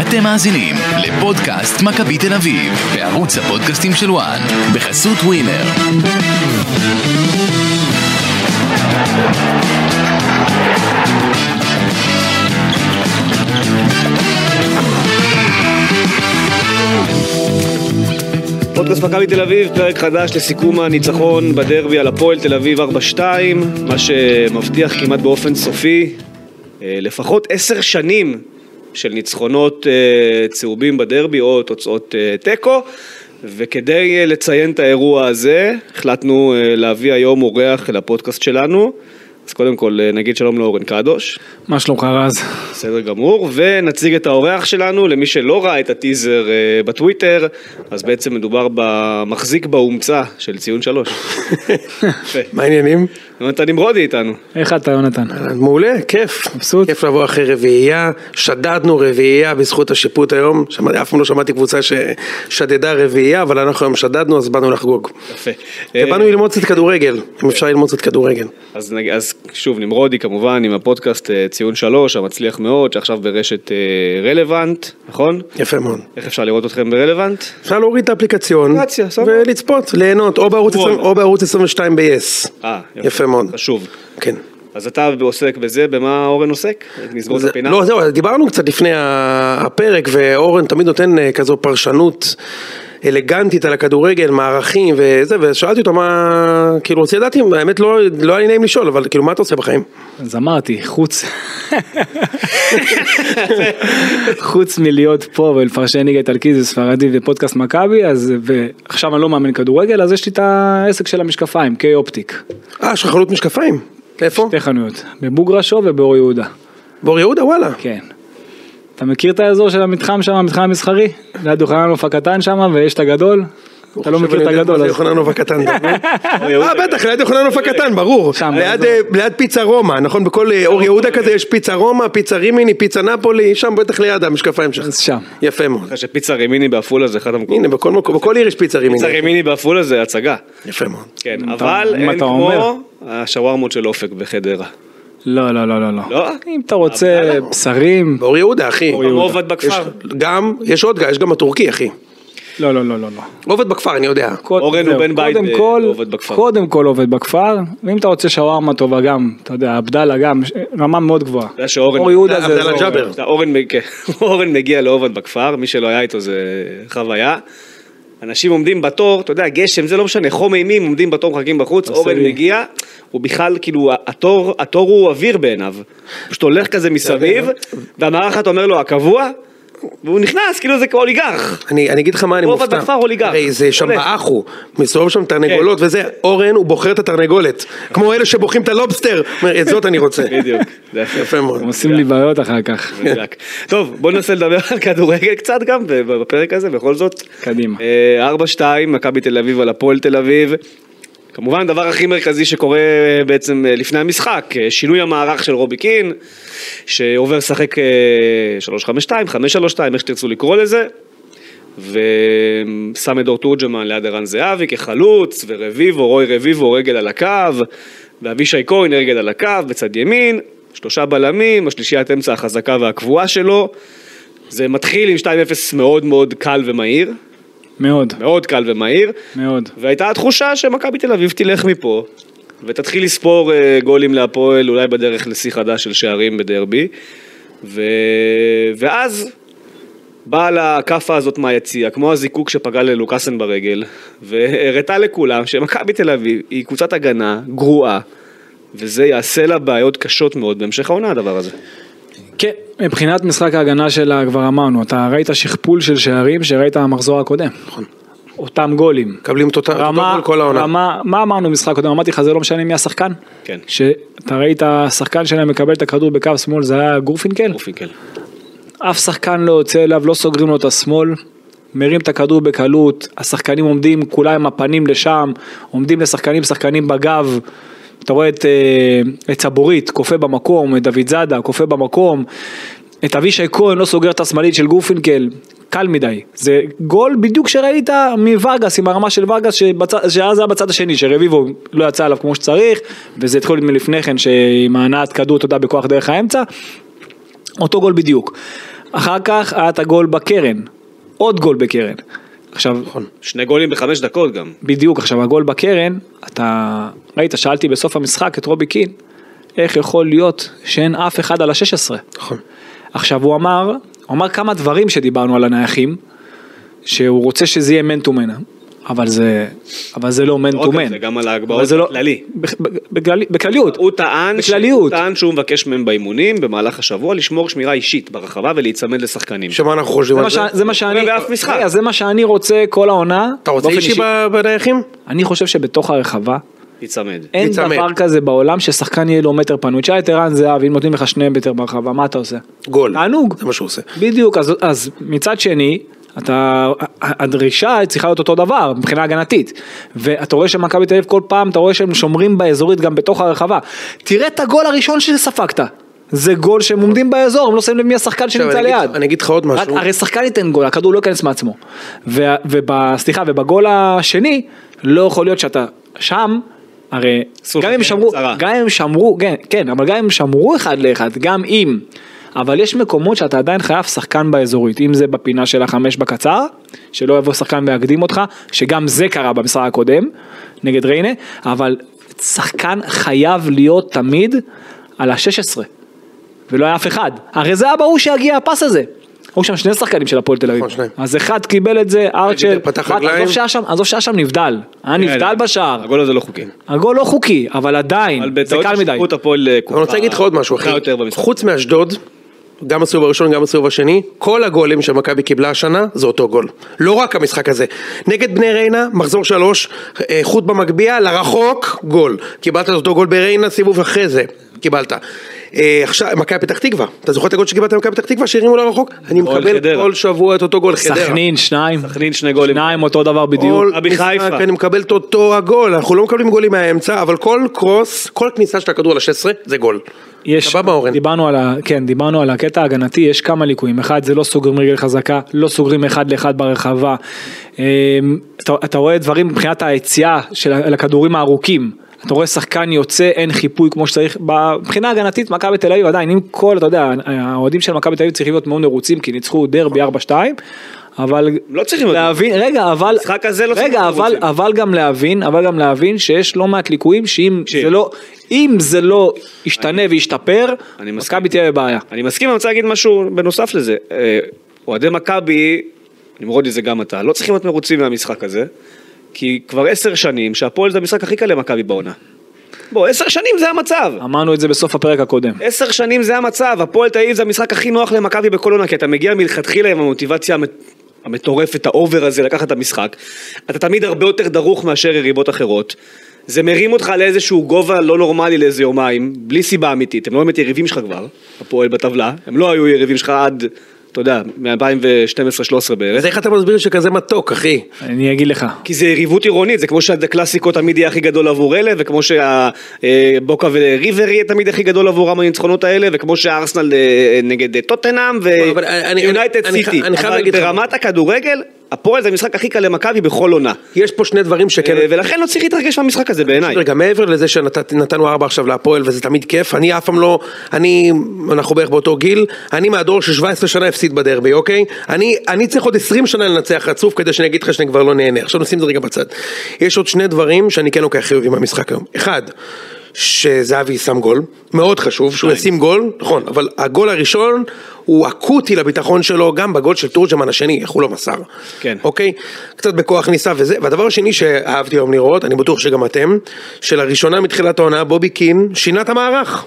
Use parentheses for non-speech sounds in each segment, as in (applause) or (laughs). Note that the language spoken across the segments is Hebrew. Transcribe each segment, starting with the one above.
אתם מאזינים לפודקאסט מכבי תל אביב, בערוץ הפודקאסטים של וואן, בחסות ווינר. פודקאסט מכבי תל אביב, פרק חדש לסיכום הניצחון בדרבי על הפועל תל אביב 4-2, מה שמבטיח כמעט באופן סופי אה, לפחות עשר שנים של ניצחונות אה, צהובים בדרבי או תוצאות אה, תיקו. וכדי אה, לציין את האירוע הזה, החלטנו אה, להביא היום אורח לפודקאסט שלנו. אז קודם כל אה, נגיד שלום לאורן קדוש, מה שלומך רז? בסדר גמור, ונציג את האורח שלנו, למי שלא ראה את הטיזר אה, בטוויטר, אז בעצם מדובר במחזיק באומצה של ציון שלוש. יפה. מה העניינים? יונתן נמרודי איתנו. איך אתה יונתן? מעולה, כיף. מבסוט? כיף לבוא אחרי רביעייה, שדדנו רביעייה בזכות השיפוט היום, שמע- אף פעם לא שמעתי קבוצה ששדדה רביעייה, אבל אנחנו היום שדדנו אז באנו לחגוג. יפה. אה, ובאנו ללמוד קצת כדורגל, אם אפשר ללמוד קצת כדורגל. אז, נג... אז שוב, נמרודי כמובן עם הפודקאסט אה, ציון שלוש, המצליח מאוד, שעכשיו ברשת אה, רלוונט, נכון? יפה מאוד. איך אפשר לראות אתכם ברלוונט? אפשר להוריד את האפליקציון, אפליקציה, סבבה. ולצפות, ליהנות, או בערוץ וואלה. 20 או בערוץ 22 ב-yes. אה, יפה מאוד. חשוב. כן. אז אתה עוסק בזה, במה אורן עוסק? נסגור את זה- הפינה? לא, זהו, דיברנו קצת לפני ה- הפרק, ואורן תמיד נותן אה, כזו פרשנות אלגנטית על הכדורגל, מערכים וזה, ושאלתי אותו מה, כאילו, רוצה לדעת אם, האמת לא, לא היה לי נעים לשאול, אבל כאילו, מה אתה עושה בחיים? אז אמרתי, חוץ... חוץ מלהיות פה ולפרשן ליגה איטלקית וספרדית ופודקאסט מכבי, אז ועכשיו אני לא מאמן כדורגל, אז יש לי את העסק של המשקפיים, קיי אופטיק. אה, יש לך חנות משקפיים? איפה? שתי חנויות, בבוגרשו ובאור יהודה. באור יהודה, וואלה. כן. אתה מכיר את האזור של המתחם שם, המתחם המסחרי? זה הדוכננוף הקטן שם ויש את הגדול? אתה לא עכשיו מכיר אני את יודע מה הגדול, זה אז... (laughs) יוחננוף הקטן. אתה מבין? אה, בטח, ליד יוחננוף הקטן, ברור. שם, ליד, באזור. אה, ליד פיצה רומא, נכון? בכל אה, אור יהודה כזה יש פיצה רומא, פיצה רימיני, פיצה נפולי, שם בטח ליד המשקפיים שלך. אז שם. יפה מאוד. אחרי שפיצה רימיני בעפולה זה אחד המקומות. הנה, בכל מקום, בכל עיר יש פיצה רימיני. פיצה רימיני בעפולה זה הצגה. יפה מאוד. כן, אם אתה- אבל אם אין אתה כמו אומר. השווארמות של אופק בחדרה. לא, לא, לא, לא, לא. לא? אם אתה רוצה אה, בשרים... באור יהודה, אחי. גם עובד בכפר. יש- גם, יש עוד, יש גם הטורקי, אחי. לא, לא, לא, לא, לא. עובד בכפר, אני יודע. קוד- אורן זהו, הוא בן בית קודם ב- כל- עובד בכפר. קודם כל עובד בכפר, ואם אתה רוצה שווארמה טובה גם, אתה יודע, עבדאללה גם, ש- רמה מאוד גבוהה. יודע שאורן- אור יהודה זה... זה- עבדאללה ג'אבר. אתה- אורן מג- כן, (laughs) אורן מגיע לעובד בכפר, מי שלא היה איתו זה חוויה. אנשים עומדים בתור, אתה יודע, גשם, זה לא משנה, חום אימים, עומדים בתור, מחכים בחוץ, עושה אורן לי. מגיע, הוא בכלל, כאילו, התור, התור הוא אוויר בעיניו. פשוט הולך כזה מסביב, והמארחת אומר לו, הקבוע, והוא נכנס, כאילו זה כאוליגרך. אני, אני אגיד לך מה אני הוא מופתע. עובד בכפר, הוא ליגה. הרי זה שם הולך. כן. באחו, מסתובב שם תרנגולות וזה, אורן הוא בוחר את התרנגולת. כמו אלה שבוחרים את הלובסטר. אומר, את זאת אני רוצה. בדיוק, (laughs) זה יפה מאוד. הם עושים לי בעיות אחר כך. מדויק. טוב, בוא ננסה לדבר על כדורגל קצת גם בפרק הזה, בכל זאת. קדימה. אה, 4-2, מכבי תל אביב על הפועל תל אביב. כמובן, הדבר הכי מרכזי שקורה אה, בעצם אה, לפני המשחק, אה, שינוי המערך של רובי קין, שעובר לשחק אה, 3-5-2, 5-3-2, איך שתרצו לקרוא לזה. ושם את דור תורג'מן ליד ערן זהבי כחלוץ, ורביבו, רוי רביבו רגל על הקו, ואבישי כהן רגל על הקו בצד ימין, שלושה בלמים, השלישיית אמצע החזקה והקבועה שלו. זה מתחיל עם 2-0 מאוד מאוד קל ומהיר, מאוד, מאוד קל ומהיר, מאוד. והייתה התחושה שמכבי תל אביב תלך מפה, ותתחיל לספור אה, גולים להפועל, אולי בדרך לשיא חדש של שערים בדרבי, ו... ואז באה לה הכאפה הזאת מהיציע, כמו הזיקוק שפגע ללוקאסן ברגל, והראתה לכולם שמכבי תל אביב היא קבוצת הגנה גרועה. וזה יעשה לה בעיות קשות מאוד בהמשך העונה הדבר הזה. כן, מבחינת משחק ההגנה שלה כבר אמרנו, אתה ראית שכפול של שערים שראית המחזור הקודם. נכון. אותם גולים. מקבלים את אותה- את אותו רמה, גול כל העונה. רמה, מה אמרנו במשחק קודם? אמרתי לך זה לא משנה מי השחקן? כן. שאתה ראית שחקן שלהם מקבל את הכדור בקו שמאל זה היה גורפינקל? אופינקל. אף שחקן לא יוצא אליו, לא סוגרים לו את השמאל, מרים את הכדור בקלות, השחקנים עומדים כולם עם הפנים לשם, עומדים לשחקנים, שחקנים בגב. אתה רואה את, אה, את צבורית, כופה במקום, את דוד זאדה, כופה במקום, את אבישי כהן לא סוגר את השמאלית של גורפינקל, קל מדי. זה גול בדיוק שראית מוורגס, עם הרמה של וורגס, שבצ... שאז היה בצד השני, שרביבו לא יצא עליו כמו שצריך, וזה התחיל מלפני כן, שעם ההנעת כדור, אתה יודע, בכוח דרך האמצע. אותו גול בדיוק. אחר כך היה את הגול בקרן, עוד גול בקרן. עכשיו, נכון. שני גולים בחמש דקות גם. בדיוק, עכשיו הגול בקרן, אתה ראית, שאלתי בסוף המשחק את רובי קין, איך יכול להיות שאין אף אחד על ה-16? נכון. עכשיו הוא אמר, הוא אמר כמה דברים שדיברנו על הנייחים, שהוא רוצה שזה יהיה מן טו מן, אבל זה, אבל זה לא מן אוקיי, טו מן. זה גם על ההגבהות לא- בכללי. בכלליות. הוא טען, ש... בכלליות. הוא טען שהוא מבקש מהם באימונים במהלך השבוע לשמור שמירה אישית ברחבה ולהיצמד לשחקנים. שמה אנחנו חושבים זה על מה זה? ש- זה מה שאני, באף משחק. רגע, זה מה שאני רוצה כל העונה. אתה רוצה באופן אישי ב- בנייחים? אני חושב שבתוך הרחבה, להיצמד. אין להיצמד. דבר כזה בעולם ששחקן יהיה לו מטר פנוי. תשאל את ערן זהב, אם נותנים לך שני מטר ברחבה, מה אתה עושה? גול. תענוג. זה מה שהוא עושה. בדיוק, אז, אז מצד שני, אתה, הדרישה צריכה להיות אותו דבר מבחינה הגנתית. ואתה רואה שמכבי תל אביב כל פעם, אתה רואה שהם שומרים באזורית גם בתוך הרחבה. תראה את הגול הראשון שספגת. זה גול שהם עומדים באזור, הם לא שמים לב מי השחקן עכשיו, שנמצא אני אגיד- ליד. אני אגיד לך עוד משהו. הרי שחקן ייתן גול, הכדור לא ייכנס מעצמו. ו- וב- סליחה, ובגול השני, לא יכול להיות שאתה שם, הרי סוף, גם אם כן, שמרו, צרה. גם אם שמרו, כן, כן, אבל גם אם שמרו אחד לאחד, גם אם, אבל יש מקומות שאתה עדיין חייב שחקן באזורית, אם זה בפינה של החמש בקצר, שלא יבוא שחקן ויקדים אותך, שגם זה קרה במשחק הקודם, נגד ריינה, אבל שחקן חייב להיות תמיד על ה-16. ולא היה אף אחד. הרי זה היה ברור שיגיע הפס הזה. היו שם שני שחקנים של הפועל תל אביב. נכון, שניים. אז אחד קיבל את זה, ארצ'ל. פתח מה, רגליים. עזוב שהיה שם- עזוב שהיה שם נבדל. היה נבדל בשער. כן, הגול הזה לא חוקי. הגול לא חוקי, אבל אבל עדיין, זה בטעות קל מדי. שיפוט הפועל אה, קופה. אבל אני רוצה להגיד לך עוד משהו, אחי. קופה יותר במשחק. חוץ מאשדוד, גם בסיבוב הראשון, גם בסיבוב השני, כל הגולים שמכבי קיבלה השנה, זה אותו גול. לא רק המשחק הזה. נגד בני ריינה, מחזור שלוש, אה, חוט במגביה, לרחוק, גול. קיבלת את אותו גול בריינה, סיבוב אחרי זה, קיבלת. אה, עכשיו, מכבי פתח תקווה. אתה זוכר את הגול שקיבלת במכבי פתח תקווה, שהרימו לרחוק? אני גול מקבל חדרה. כל שבוע את אותו גול, חדרה. סכנין, שניים. סכנין, שני גולים. שניים אותו דבר בדיוק. כל מכבי משחק חיפה. אני מקבל את אותו הגול, אנחנו לא מקבלים גולים מהאמצע, אבל כל קרוס, כל כניסה של הכדור ל-16 זה גול. יש, סבבה אורן. דיברנו על, ה, כן, דיברנו על הקטע ההגנתי, יש כמה ליקויים, אחד זה לא סוגרים רגל חזקה, לא סוגרים אחד לאחד ברחבה, אמ, אתה, אתה רואה דברים מבחינת היציאה של ה- לכדורים הארוכים, אתה רואה שחקן יוצא, אין חיפוי כמו שצריך, מבחינה הגנתית מכבי תל אביב עדיין, עם כל, אתה יודע, האוהדים של מכבי תל אביב צריכים להיות מאוד מרוצים כי ניצחו דרבי 4-2, אבל הם לא צריכים להיות- להבין, רגע, אבל, המשחק הזה לא צריך רגע, להיות אבל, מרוצים. אבל גם להבין, אבל גם להבין שיש לא מעט ליקויים שאם תקשיב. זה לא, אם זה לא ישתנה וישתפר, אני מסכים. מכבי תהיה בבעיה. אני מסכים, אני רוצה להגיד משהו בנוסף לזה. אה, אוהדי מכבי, נמרודי זה גם אתה, לא צריכים להיות מרוצים מהמשחק הזה, כי כבר עשר שנים שהפועל זה המשחק הכי קל למכבי בעונה. בוא, עשר שנים זה המצב. אמרנו את זה בסוף הפרק הקודם. עשר שנים זה המצב, הפועל תל אביב זה המשחק הכי נוח למכבי בכל עונה, כי אתה מגיע מלכתחילה עם המוטיבציה המט- המטורפת, האובר הזה, לקחת את המשחק. אתה תמיד הרבה יותר דרוך מאשר יריבות אחרות. זה מרים אותך לאיזשהו גובה לא נורמלי לאיזה יומיים, בלי סיבה אמיתית, הם לא באמת יריבים שלך כבר, הפועל בטבלה, הם לא היו יריבים שלך עד, אתה יודע, מ-2012-2013 בערך. אז איך אתה מסביר שכזה מתוק, אחי? אני אגיד לך, כי זה יריבות עירונית, זה כמו שהקלאסיקו תמיד יהיה הכי גדול עבור אלה, וכמו שהבוקה וריבר יהיה תמיד הכי גדול עבורם הניצחונות האלה, וכמו שהארסנל אה, נגד אה, טוטנאם אבל אני- ויונייטד אני- סיטי. אני חייב אבל להגיד לך- ברמת הכדורגל, הפועל זה המשחק הכי קל למכבי בכל עונה. יש פה שני דברים שכן... אה, ולכן לא צריך להתרגש מהמשחק הזה בעיניי. רגע, מעבר לזה שנתנו ארבע עכשיו להפועל וזה תמיד כיף, אני אף פעם לא, אני, אנחנו בערך באותו גיל, אני מהדור ש-17 שנה הפסיד בדרבי, אוקיי? אני, אני צריך עוד 20 שנה לנצח רצוף כדי שאני אגיד לך שאני כבר לא נהנה. עכשיו נשים את זה רגע בצד. יש עוד שני דברים שאני כן לוקח חיובי מהמשחק היום. אחד, שזהבי שם גול, מאוד חשוב, שהוא ישים גול, נכון, אבל הגול הראשון הוא אקוטי לביטחון שלו, גם בגול של תורג'מן השני, איך הוא לא מסר. כן. אוקיי? קצת בכוח ניסה וזה. והדבר השני שאהבתי היום לראות, אני בטוח שגם אתם, שלראשונה מתחילת העונה בובי קין שינה את המערך.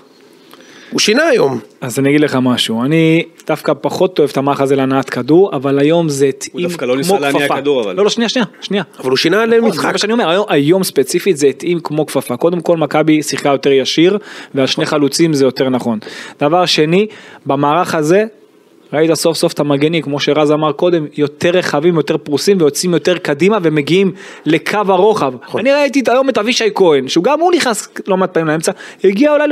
הוא שינה היום. אז אני אגיד לך משהו, אני דווקא פחות אוהב את המערך הזה להנעת כדור, אבל היום זה התאים כמו כפפה. דווקא לא ניסה להניע כדור, אבל. לא, לא, שנייה, שנייה, שנייה. אבל הוא שינה נכון, זה למשחק. מה שאני אומר, היום, היום ספציפית זה התאים כמו כפפה. קודם כל מכבי שיחקה יותר ישיר, ועל שני חלוצים זה יותר נכון. דבר שני, במערך הזה, ראית סוף סוף את המגנים, כמו שרז אמר קודם, יותר רחבים, יותר פרוסים, ויוצאים יותר קדימה ומגיעים לקו הרוחב. נכון. אני ראיתי את- היום את אבישי כהן, שהוא גם הוא נכנס לא מעט פעמים לאמצע, הגיע אולי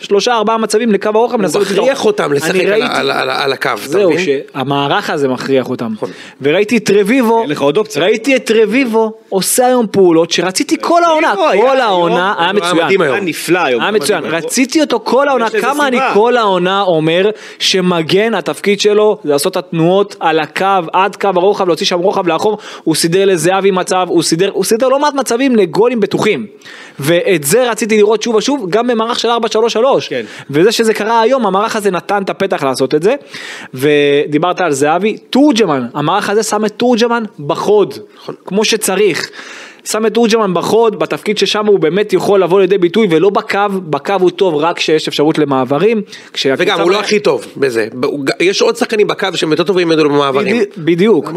לשלושה ארבעה מצבים לקו הרוחב, מנסה הוא לפתוח. מכריח אותם לשחק אני על ה- ראיתי- על ה- על ה- על הקו, אתה זהו, מבין? שהמערך הזה מכריח אותם. וראיתי את רביבו, אוקיי. נכון. אין לך עוד אופציה. ראיתי את רביבו עושה היום פעולות שרציתי כל העונה, לא, היה כל היום- העונה, היה הוא היה מצוין. מדהים היום. היה נפלא היום. היה מצוין, מדהים. רציתי אותו כל העונה, לזה כמה אני סיבה. כל העונה אומר שמגן, התפקיד שלו זה לעשות את התנועות על הקו, עד קו הרוחב, להוציא שם רוחב לאחור, הוא סידר לזהבי מצב, הוא סידר, הוא סידר לא מעט מצבים לגולים בטוחים. ואת זה רציתי לראות שוב ושוב, גם במערך של 4-3-3. כן. וזה שזה קרה היום, המערך הזה נתן את הפתח לעשות את זה. ודיברת על זהבי, תורג'מן, המערך הזה שם את תורג'מן בחוד, נכון. כמו שצריך. שם את תורג'מן בחוד, בתפקיד ששם הוא באמת יכול לבוא לידי ביטוי, ולא בקו, בקו הוא טוב רק כשיש אפשרות למעברים. כשהקבוצה- וגם, הוא לא הכי טוב בזה. ב- הוא ג- יש עוד שחקנים בקו שהם יותר טובים ממנו במעברים. בדי- בדיוק,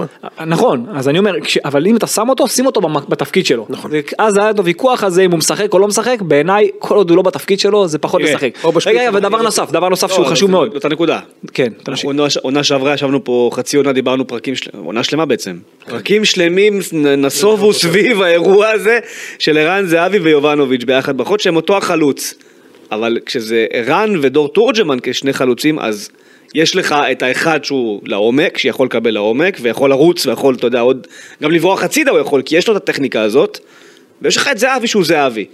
נכון, אז אני אומר, כש- אבל אם אתה שם אותו, שים אותו במק- בתפקיד שלו. נכון. אז היה את הוויכוח הזה אם הוא משחק או לא משחק, בעיניי כל עוד הוא לא בתפקיד שלו זה פחות תראה, לשחק. או בשפיץ רגע, רגע, או ודבר נוסף, דבר נוסף שהוא לא, חשוב זאת- מאוד. זאת הנקודה. כן, אנחנו תמשיך. עונה ש- עונה שעברה ישבנו פה חצי עונה, דיברנו פרקים, של- עונה שלמה בעצם. פרקים שלמים נ- נסובו סביב האירוע הזה של ערן זהבי ויובנוביץ' ביחד בחוד, שהם אותו החלוץ. אבל כשזה ערן ודור תורג'מן כשני חלוצים, אז יש לך את האחד שהוא לעומק, שיכול לקבל לעומק, ויכול לרוץ, ויכול, אתה יודע, עוד... גם לברוח הצידה הוא יכול, כי יש לו את הטכניקה הזאת. ויש לך את זהבי שהוא זהבי.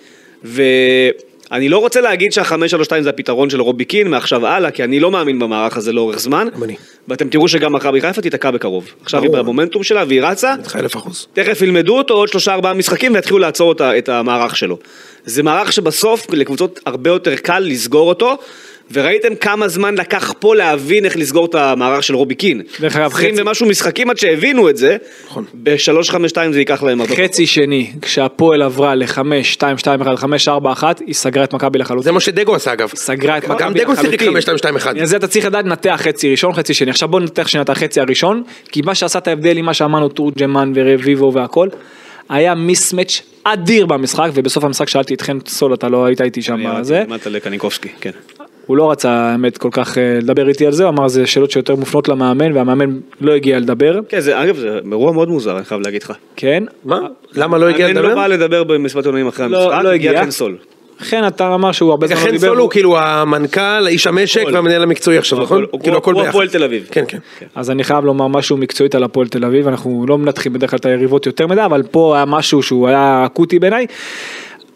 ואני לא רוצה להגיד שה-532 זה הפתרון של רובי קין מעכשיו הלאה, כי אני לא מאמין במערך הזה לאורך זמן. גם אני. ואתם תראו שגם מכבי חיפה תיתקע בקרוב. עכשיו היא ברור. במומנטום שלה והיא רצה, איתך אלף אחוז. תכף ילמדו אותו עוד שלושה ארבעה משחקים ויתחילו לעצור אותה, את המערך שלו. זה מערך שבסוף לקבוצות הרבה יותר קל לסגור אותו. וראיתם כמה זמן לקח פה להבין איך לסגור את המערך של רובי קין. דרך אגב, עשרים חצי- נכון. ומשהו משחקים עד שהבינו את זה, ב-352 זה ייקח להם הרבה. חצי שני, כשהפועל עברה ל-5-2-2-1-5-4-1, היא סגרה את מכבי לחלוטין. זה מה שדגו עשה אגב. סגרה את מכבי גם לחלוטין. דגו שיחק 5-2-2-1. אז אתה צריך לדעת לנתח חצי ראשון, חצי שני. עכשיו בוא ננתח שנייה את החצי הראשון, כי מה שעשה את ההבדל עם מה שאמרנו, תורג'מן ורביבו והכל, היה מיסמץ' אדיר במשחק, ובסוף המשחק שאלתי את חן סול, אתה לא היית איתי שם בזה. למטה לקניקובסקי, כן. הוא לא רצה, האמת, כל כך אה, לדבר איתי על זה, הוא אמר זה שאלות שיותר מופנות למאמן, והמאמן לא הגיע לדבר, כן, זה, אגב, זה אירוע מאוד מוזר, אני חייב להגיד לך. כן. מה? למה לא הגיע מאמן לא לדבר? בא לדבר במסיבת עונאים אחרי לא- המשחק, לא הגיע הגיע. חן סול. חן אתה אמר שהוא הרבה זמן לא חן דיבר. סול הוא כאילו המנכ"ל, איש המשק הכל. והמנהל המקצועי עכשיו, הוא נכון? הכל. הוא כאילו הכל הוא ביחד. הפועל תל אביב. כן, כן. אז אני חייב לומר משהו מקצועית על הפועל תל אביב, אנחנו לא מנתחים בדרך כלל את היריבות יותר מדי, אבל פה היה משהו שהוא היה אקוטי בעיניי.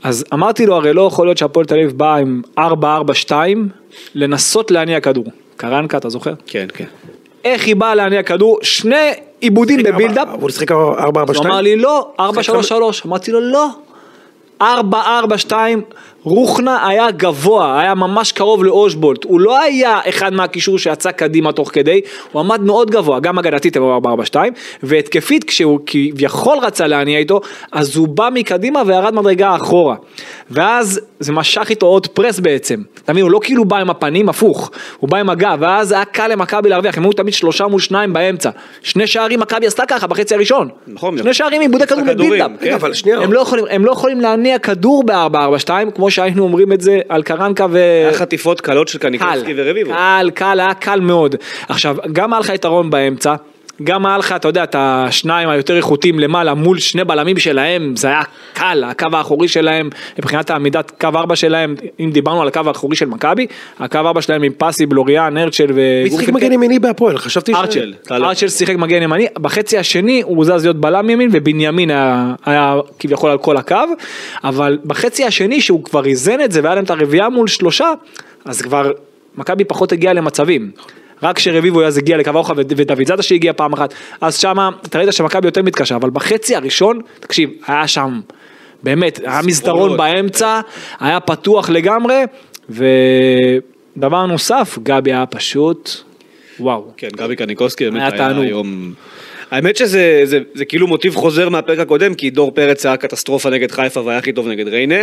אז אמרתי לו, הרי לא יכול להיות שהפועל תל אביב באה עם 4-4-2 לנסות להניע כדור. קרנקה, אתה זוכר? כן, כן. איך היא באה להניע כדור? שני עיבודים בבילדאפ. אבל הוא שיחק 4 4 הוא 2 אמר לי לא, 433, אמרתי לו לא. 442, רוחנה היה גבוה, היה ממש קרוב לאושבולט, הוא לא היה אחד מהקישור שיצא קדימה תוך כדי, הוא עמד מאוד גבוה, גם הגנתית הם היו 442, והתקפית כשהוא כביכול רצה להניע איתו, אז הוא בא מקדימה וירד מדרגה אחורה. ואז זה משך איתו עוד פרס בעצם, אתה מבין, הוא לא כאילו בא עם הפנים, הפוך, הוא בא עם הגב, ואז היה קל למכבי להרוויח, הם היו תמיד שלושה מול שניים באמצע. שני שערים מכבי עשתה ככה בחצי הראשון. נכון. שני שערים עיבודי כדור הכדורים, בבילדאפ. כן, אבל שנייה. הם לא יכולים- הם לא יכולים להניע כדור ב-442, כמו שהיינו אומרים את זה על קרנקה ו... היה חטיפות קלות של קל, קניקובסקי ורביבו. קל, קל, היה קל מאוד. עכשיו, גם היה לך יתרון באמצע. גם היה לך, אתה יודע, את השניים היותר איכותיים למעלה מול שני בלמים שלהם, זה היה קל, הקו האחורי שלהם, מבחינת העמידת קו ארבע שלהם, אם דיברנו על הקו האחורי של מכבי, הקו ארבע שלהם עם פסי, בלוריאן, הרצ'ל ו... מי שיחק מגן ימיני בהפועל? חשבתי ש... ארצ'ל, טל. ארצ'ל שיחק מגן ימני, בחצי השני הוא זז להיות בלם ימין ובנימין היה, היה כביכול על כל הקו, אבל בחצי השני שהוא כבר איזן את זה והיה להם את הרביעייה מול שלושה, אז כבר מכבי פחות הגיעה למצבים. רק כשרביבו אז הגיע לקו הרוחב וד- ודוד זאדה שהגיע פעם אחת, אז שמה, אתה ראית שמכבי יותר מתקשה, אבל בחצי הראשון, תקשיב, היה שם, באמת, היה מסדרון באמצע, היה פתוח לגמרי, ודבר נוסף, גבי היה פשוט, וואו. כן, גבי קניקובסקי היה באמת היה תענוג. היום... האמת שזה זה, זה כאילו מוטיב חוזר מהפרק הקודם, כי דור פרץ היה קטסטרופה נגד חיפה והיה הכי טוב נגד ריינה,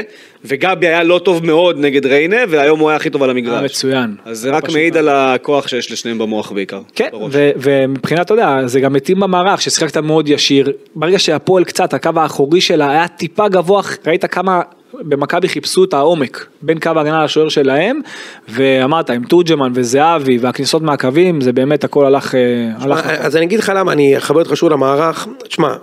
וגבי היה לא טוב מאוד נגד ריינה, והיום הוא היה הכי טוב על המגרש. היה מצוין. אז זה רק פשוט מעיד על הכוח שיש לשניהם במוח בעיקר. כן, בראש. ו- ומבחינת, אתה יודע, זה גם מתאים במערך, ששיחקת מאוד ישיר. ברגע שהפועל קצת, הקו האחורי שלה היה טיפה גבוה, ראית כמה במכבי חיפשו את העומק בין קו ההגנה לשוער שלהם, ואמרת עם תורג'מן וזהבי והכניסות מהקווים, זה באמת הכל הלך... אה, הלך אז אני אגיד לך למה, אני אחבר אותך שוב למערך. תשמע,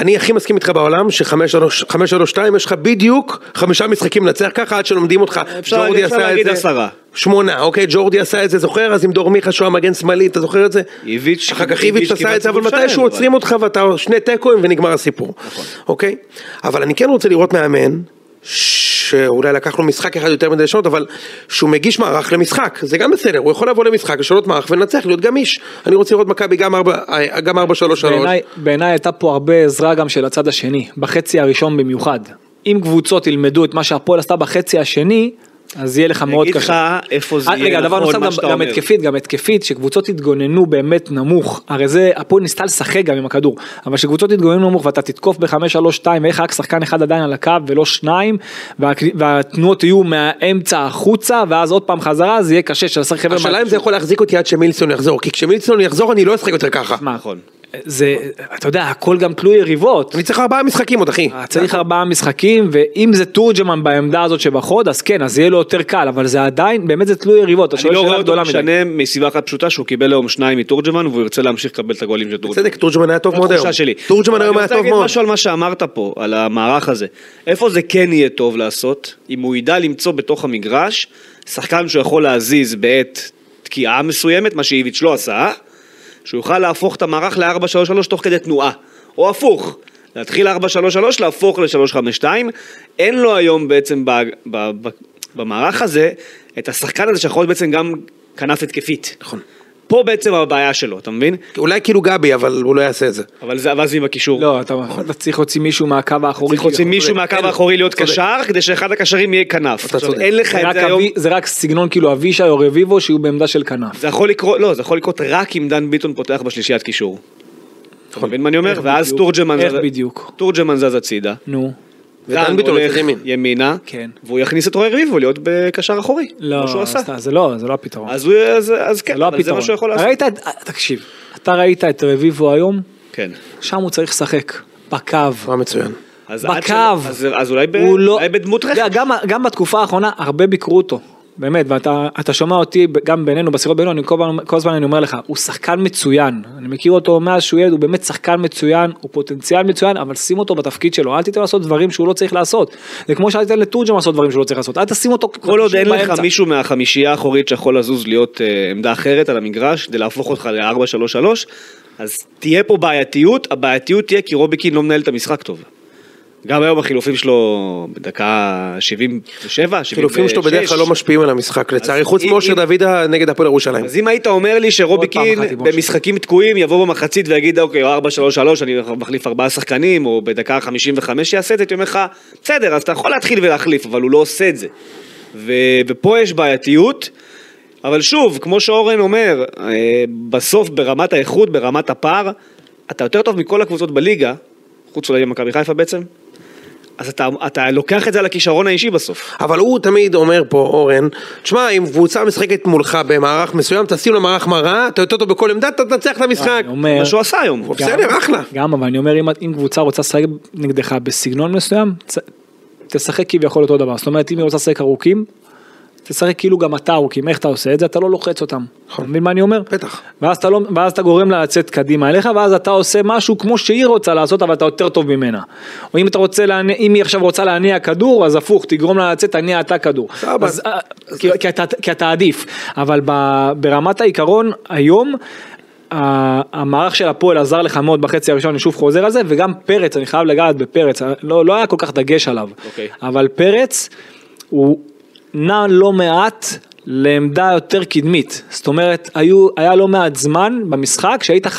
אני הכי מסכים איתך בעולם ש-5-3-2 יש לך בדיוק חמישה משחקים לנצח ככה עד שלומדים אותך. אפשר- ג'ורדי אפשר עשה את להגיד זה. עשרה. שמונה, אוקיי, ג'ורדי עשה את זה, זוכר? אז עם דור מיכה שהוא המגן שמאלי, אתה זוכר את זה? איביץ'- אחר כך איביץ' איביץ' עשה כמעט את זה, אבל סיבוב מתישהו שלם, עוצרים אותך ואתה שני תיקואים ונגמר הסיפור. נכון. אוקיי? אבל אני כן רוצה לראות מאמן. שאולי לקח לו משחק אחד יותר מדי שעות, אבל שהוא מגיש מערך למשחק, זה גם בסדר, הוא יכול לבוא למשחק, לשנות מערך ולנצח, להיות גמיש. אני רוצה לראות מכבי גם 4-3-3. בעיניי- בעיניי הייתה פה הרבה עזרה גם של הצד השני, בחצי הראשון במיוחד. אם קבוצות ילמדו את מה שהפועל עשתה בחצי השני, אז יהיה לך מאוד אגיד קשה. לך איפה זה אה, יהיה רגע, דבר נכון, נוסף, מה גם- שאתה גם אומר. התקפית, גם התקפית, שקבוצות יתגוננו באמת נמוך, הרי זה, הפועל ניסתה לשחק גם עם הכדור, אבל שקבוצות יתגוננו נמוך ואתה תתקוף ב-5-3-2, ואיך רק שחקן אחד עדיין על הקו ולא שניים, וה- והתנועות יהיו מהאמצע החוצה, ואז עוד פעם חזרה, זה יהיה קשה שלשחק חבר'ה. השאלה אם זה יכול להחזיק אותי עד שמילסון יחזור, כי כשמילסון יחזור אני לא אשחק יותר ככה. מה, נכון. זה, אתה יודע, הכל גם תלוי יריבות. אני צריך ארבעה משחקים עוד, אחי. אה, צריך נכון. ארבעה משחקים, ואם זה תורג'מן בעמדה הזאת שבחוד, אז כן, אז יהיה לו יותר קל, אבל זה עדיין, באמת זה תלוי יריבות, אתה אני שואל לא רואה שאלה אותו גדולה מדי. משנה מסיבה אחת פשוטה שהוא קיבל היום שניים מתורג'מן והוא ירצה להמשיך לקבל את הגולים של תורג'מן. בצדק, תורג'מן היה טוב מאוד היום. התחושה שלי. תורג'מן אבל היום היה אני רוצה טוב להגיד מאוד. משהו על מה שאמרת פה, על המערך הזה. איפה זה כן יהיה טוב לעשות, אם הוא ידע למצוא בתוך המגרש שחקן שהוא יכול להזיז בעת תקיעה מסוימת, מה שאיביץ' לא עשה, שהוא יוכל להפוך את המערך ל-4-3-3 תוך כדי תנועה. או הפוך. להתחיל 4-3-3, להפוך ל-3-5-2. אין לו היום בעצם ב- ב- ב- במערך הזה את השחקן הזה שיכול להיות בעצם גם כנף התקפית. נכון. פה בעצם הבעיה שלו, אתה מבין? אולי כאילו גבי, אבל הוא לא יעשה את זה. אבל זה ואז עם הקישור. לא, אתה אתה צריך להוציא מישהו מהקו האחורי. כאילו. צריך להוציא מישהו צודק. מהקו אין, האחורי להיות צודק. קשר, כדי שאחד הקשרים יהיה כנף. עכשיו, צודק. אין לך זה את רק זה היום. אבי- זה רק סגנון כאילו אבישי או רביבו שיהיו בעמדה של כנף. זה יכול לקרות, לא, זה יכול לקרות רק אם דן ביטון פותח בשלישיית קישור. אתה מבין מה אני אומר? ואז בדיוק? תורג'מן נכון. איך זז- בדיוק? תורג'מן זז הצידה. נו. ודן ביטון הולך הולך ימין. ימינה, כן. והוא יכניס את רועי רביבו להיות בקשר אחורי. לא, כמו שהוא עשה. סתם, זה לא, זה לא הפתרון. אז הוא- אז- אז זה כן, לא אבל זה הפתרון. מה שהוא יכול לעשות. ראית, את- תקשיב, אתה ראית את רביבו היום, כן. שם הוא צריך לשחק, בקו. מה מצוין. אז עד בקו. ש- אז- אז אולי ב- הוא לא- אולי בדמות אתה יודע, רכב. גם- גם בתקופה האחרונה הרבה ביקרו אותו. באמת, ואתה אתה שומע אותי גם בינינו, בשיחות בינינו, אני כל הזמן, כל הזמן אני אומר לך, הוא שחקן מצוין, אני מכיר אותו מאז שהוא ילד, הוא באמת שחקן מצוין, הוא פוטנציאל מצוין, אבל שים אותו בתפקיד שלו, אל תיתן לו לעשות דברים שהוא לא צריך לעשות. זה כמו שאל תיתן לתורג'ם לעשות דברים שהוא לא צריך לעשות, אל תשים אותו כל עוד אין לך באמצע. מישהו מהחמישייה האחורית שיכול לזוז להיות אה, עמדה אחרת על המגרש כדי להפוך אותך ל-4-3-3 אז תהיה פה בעייתיות, הבעייתיות תהיה כי רוביקין לא מנהל את המשחק טוב. גם היום החילופים שלו בדקה 77, 76. חילופים שלו בדרך כלל לא משפיעים על המשחק, לצערי, חוץ אם- מאושר אם- דוידה נגד הפועל ירושלים. אז אם היית אומר לי שרוביקין פעם אחת עם אושר. במשחקים תקועים יבוא במחצית ויגיד אוקיי 4-3-3 אני מחליף ארבעה שחקנים או בדקה 55 יעשה את זה, הייתי אומר לך בסדר אז אתה יכול להתחיל ולהחליף אבל הוא לא עושה את זה. ו... ופה יש בעייתיות אבל שוב כמו שאורן אומר אה, בסוף ברמת האיכות ברמת הפער אתה יותר טוב מכל הקבוצות בליגה חוץ אולי ממכבי חיפה בעצם אז אתה, אתה לוקח את זה על הכישרון האישי בסוף. אבל הוא תמיד אומר פה, אורן, תשמע, אם קבוצה משחקת מולך במערך מסוים, תשים לו מערך מראה, אתה יותר טוב בכל עמדה, אתה תנצח את המשחק. אני אומר- מה שהוא עשה היום. גם- בסדר, אחלה. גם, אבל אני אומר, אם, אם קבוצה רוצה לשחק נגדך בסגנון מסוים, צ- תשחק כביכול אותו דבר. זאת אומרת, אם היא רוצה לשחק ארוכים, תשחק כאילו גם אתה ארוכים. איך אתה עושה את זה? אתה לא לוחץ אותם. אתה מבין מה אני אומר? נכון. בטח. ואז אתה, לא, ואז אתה גורם לה לצאת קדימה אליך, ואז אתה עושה משהו כמו שהיא רוצה לעשות, אבל אתה יותר טוב ממנה. נכון. או אם, אתה רוצה להניע, אם היא עכשיו רוצה להניע כדור, אז הפוך, תגרום לה לצאת, תניע אתה כדור. סבבה. אז, אה, כי, כי, אתה, כי אתה עדיף. אבל ב, ברמת העיקרון, היום... ה- המערך של הפועל עזר לך מאוד בחצי הראשון, אני שוב חוזר על זה, וגם פרץ, אני חייב לגעת בפרץ, לא, לא היה כל כך דגש עליו, אוקיי. אבל פרץ הוא נע לא מעט לעמדה יותר קדמית, זאת אומרת היו, היה לא מעט זמן במשחק שהיית 5-2-3,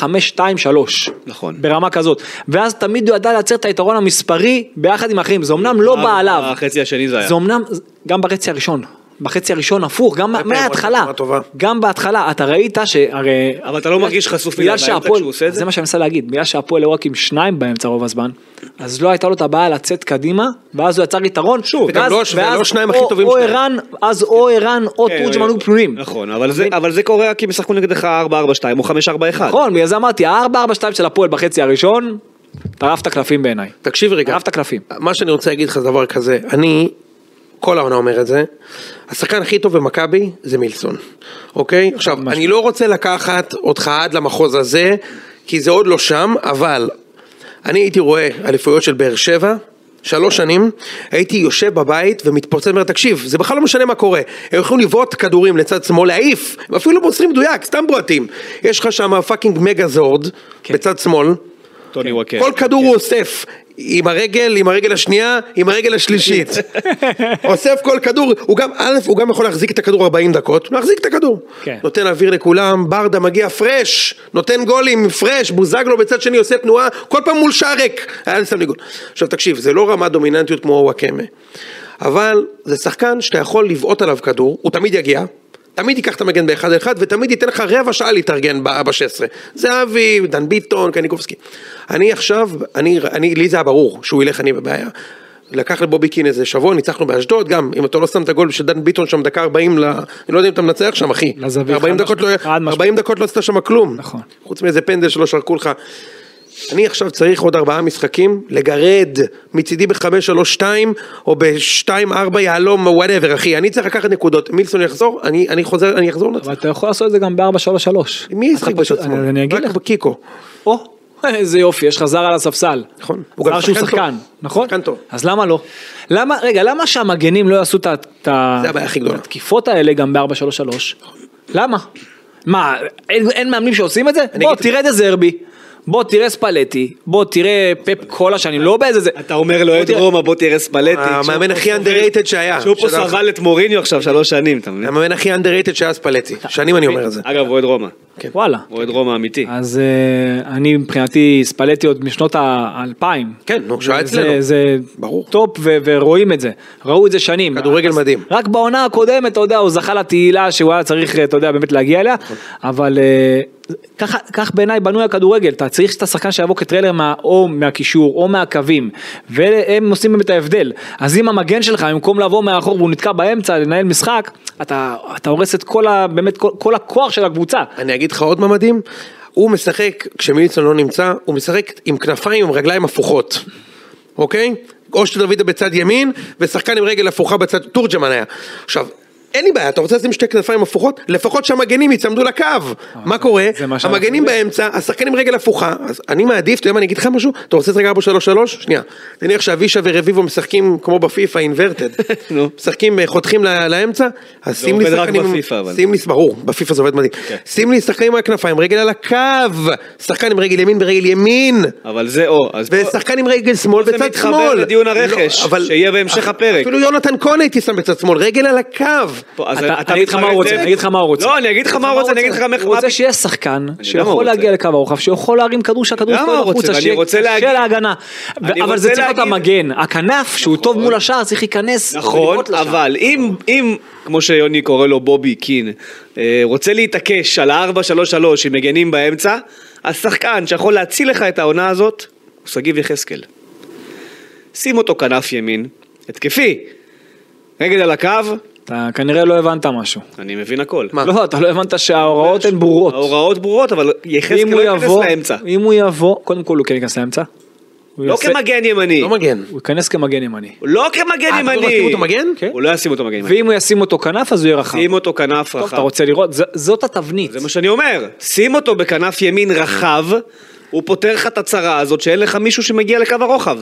נכון. ברמה כזאת, ואז תמיד הוא ידע לייצר את היתרון המספרי ביחד עם האחרים, זה אמנם לא בא עליו, החצי אה, השני זה היה. זה אמנם גם בחצי הראשון. בחצי הראשון הפוך, גם פעמים מההתחלה, הוא עשה תנועה טובה. גם בהתחלה, אתה ראית שהרי... אבל אתה לא מרגיש חשוף מדי בגלל באמצע שהפועל, כשהוא עושה את זה? זה מה שאני מנסה להגיד, בגלל שהפועל היו רק עם שניים באמצע רוב הזמן, אז לא הייתה לו את הבעיה לצאת קדימה, ואז הוא יצר יתרון, שוב, וגם ואז- לא- ולא ואז שניים הכי או- טובים או שלהם. ערן, אז או ערן או כן, תורג'מן אה, היו פנויים. נכון, אבל זה- אבל זה קורה כי הם ישחקו נגדך 4-4-2 או 5-4-1. נכון, בגלל זה אמרתי, ה-4-4-2 של הפועל בחצי הראשון, טרף את הקלפים בעיניי. תקשיב רגע. טרף את הקלפים. מה שאני רוצה להגיד לך זה דבר כזה, אני כל העונה אומר את זה, השחקן הכי טוב במכבי זה מילסון, אוקיי? עכשיו, אני לא רוצה לקחת אותך עד למחוז הזה, כי זה עוד לא שם, אבל אני הייתי רואה אליפויות של באר שבע. שלוש שנים, הייתי יושב בבית ומתפוצץ ואומר, תקשיב, זה בכלל לא משנה מה קורה. הם יכולים לבעוט כדורים לצד שמאל, להעיף, הם אפילו לא מוסרים מדויק, סתם בועטים. יש לך שם פאקינג מגזורד, כן. בצד שמאל, טוני וואקר. כל כדור הוא אוסף. עם הרגל, עם הרגל השנייה, עם הרגל השלישית. אוסף כל כדור, הוא גם, א', הוא גם יכול להחזיק את הכדור 40 דקות, להחזיק את הכדור. כן. נותן אוויר לכולם, ברדה מגיע פרש, נותן גולים פרש, בוזגלו בצד שני עושה תנועה, כל פעם מול שער ריק. היה לי סתם ניגוד. עכשיו תקשיב, זה לא רמת דומיננטיות כמו וואקמה, אבל זה שחקן שאתה יכול לבעוט עליו כדור, הוא תמיד יגיע. תמיד ייקח את המגן באחד אחד ותמיד ייתן לך רבע שעה להתארגן ב-16. זהבי, דן ביטון, קניקובסקי. אני עכשיו, אני, אני, לי זה היה ברור שהוא ילך אני בבעיה. לקח לבובי קין איזה שבוע, ניצחנו באשדוד, גם אם אתה לא שם את הגול של דן ביטון שם דקה 40, ל... אני לא יודע אם אתה מנצח שם אחי. לזווית, 40 חד דקות, לא, משמעית, חד משמעית. 40 דקות לא עשית שם כלום. נכון. חוץ מאיזה פנדל שלא שרקו לך. אני עכשיו צריך עוד ארבעה משחקים, לגרד מצידי ב-5-3-2 או ב-2-4 יהלום, וואטאבר אחי, אני צריך לקחת נקודות, מילסון יחזור, אני, אני חוזר, אני אחזור לצד. אבל אתה יכול לעשות את זה גם ב-4-3-3. מי ישחק בצד שמאל? אני אגיד לך. רק בקיקו. או, איזה יופי, יש לך זר על הספסל. נכון. הוא גם זר שהוא שחקן טוב. שחקן, נכון? שחקן טוב. אז למה לא? למה, רגע, למה שהמגנים לא יעשו את ה- את ה- זה הבעיה הכי גדולה. התקיפות האלה גם ב-4-3-3? למה? מה, אין אין מאמנים שעושים את זה? בוא, אגיד- תראה את דזרבי. בוא תראה ספלטי, בוא תראה פפ כל השנים, לא באיזה זה. אתה אומר לו, בוא את תראה- רומא, בוא תראה ספלטי. אה, המאמן הכי underrated שהיה. שהוא פה שדרך- סבל את מוריניו עכשיו שלוש שנים, אתה מבין? המאמן הכי underrated שהיה ספלטי, שנים אני אומר את זה. אגב, אוהד רומא. כן. וואלה. אוהד רומא אמיתי. אז אה, אני מבחינתי ספלטי עוד משנות האלפיים. כן, נו, שהוא היה זה- אצלנו. זה ברור. טופ ו- ורואים את זה, ראו את זה שנים. כדורגל אז- מדהים. רק בעונה הקודמת, אתה יודע, הוא זכה לתהילה שהוא היה צריך, אה, אתה יודע, באמת להגיע אליה, נכון. אבל אה, ככה- כך בעיניי בנוי הכדורגל, אתה צריך את השחקן שיבוא כטריילר מה- או מהקישור או מהקווים, והם עושים באמת ההבדל. אז אם המגן שלך, במקום לבוא מאחור והוא נתקע באמצע לנהל משחק, אתה אתה הורס את כל ה- באמת כל- כל הכוח של הקבוצה. אני אגיד לך עוד מה מדהים, הוא משחק, כשמילסון לא נמצא, הוא משחק עם כנפיים עם רגליים הפוכות, אוקיי? או שאתה דוידה בצד ימין, ושחקן עם רגל הפוכה בצד, תורג'מן היה. עכשיו, אין לי בעיה, אתה רוצה לשים שתי כנפיים הפוכות? לפחות שהמגנים יצמדו לקו. מה קורה? אה, זה מה שאנחנו המגנים באמצע, השחקן עם רגל הפוכה, אז אני מעדיף, אתה יודע מה, אני אגיד לך משהו? אתה רוצה לשחק 4-3-3? שנייה. נניח שאבישע ורביבו משחקים כמו בפיפא אינברטד. (laughs) נו. משחקים, אה, חותכים ל- לאמצע, אז שים לי עובד רק שחקנים... בפיפא, אבל. כן. שים לי, ברור, בפיפא זה עובד מדהים. שים לי שחקן עם הכנפיים, רגל על הקו, שחקן עם רגל ימין ברגל ימין, אבל זה או, אז פה- ושחקן עם רגל שמאל זה בצד שמאל. לא, מתחבר לדיון הרכש, אבל- שיהיה בהמשך הפרק. אפילו יונתן כהן הייתי שם בצד שמאל, רגל על הקו. פה, אז אתה- אני אגיד לך מה מתחרט הוא רוצה, את זה? אני אגיד לך מה הוא רוצה. לא, אני אגיד לך מה הוא רוצה, אני אגיד לך מה... הוא רוצה שיהיה שחקן הוא שיכול רוצה. להגיע לקו הרוחב, שיכול להרים כדור שהכדור למה יפול הוא רוצה? החוצה, ואני שיהיה רוצה להגיד- קשה להגנה. ו- אני אבל רוצה זה צריך להיות להגיד- המגן, הכנף שהוא טוב מול השער צריך להיכנס. נכון, ולבעוט לשער. אבל אם, אם, כמו שיוני קורא לו בובי קין, אה, רוצה להתעקש על ה-4-3-3 עם מגנים באמצע, השחקן שיכול להציל לך את העונה הזאת, הוא שגיב יחזקאל. שים אותו כנף ימין, התקפי, נגד על הקו, אתה כנראה לא הבנת משהו. אני מבין הכל. מה? לא, אתה לא הבנת שההוראות הן ברורות. ההוראות ברורות, אבל אם יחזקאל הוא לא ייכנס יבוא, לאמצע. אם הוא יבוא, קודם כל הוא כן ייכנס לאמצע. הוא לא יעשה- כמגן ימני. לא מגן. הוא ייכנס כמגן ימני. לא כמגן אה, אתה לא ימני. ישים אותו מגן? כן. הוא לא ישים אותו מגן ימני. ואם הוא ישים אותו כנף אז הוא יהיה רחב. שים אותו כנף טוב, רחב. אתה רוצה לראות? ז- זאת התבנית. זה מה שאני אומר, שים אותו בכנף ימין רחב, הוא פותר לך את הצרה הזאת שאין לך מישהו שמגיע לקו הרוחב.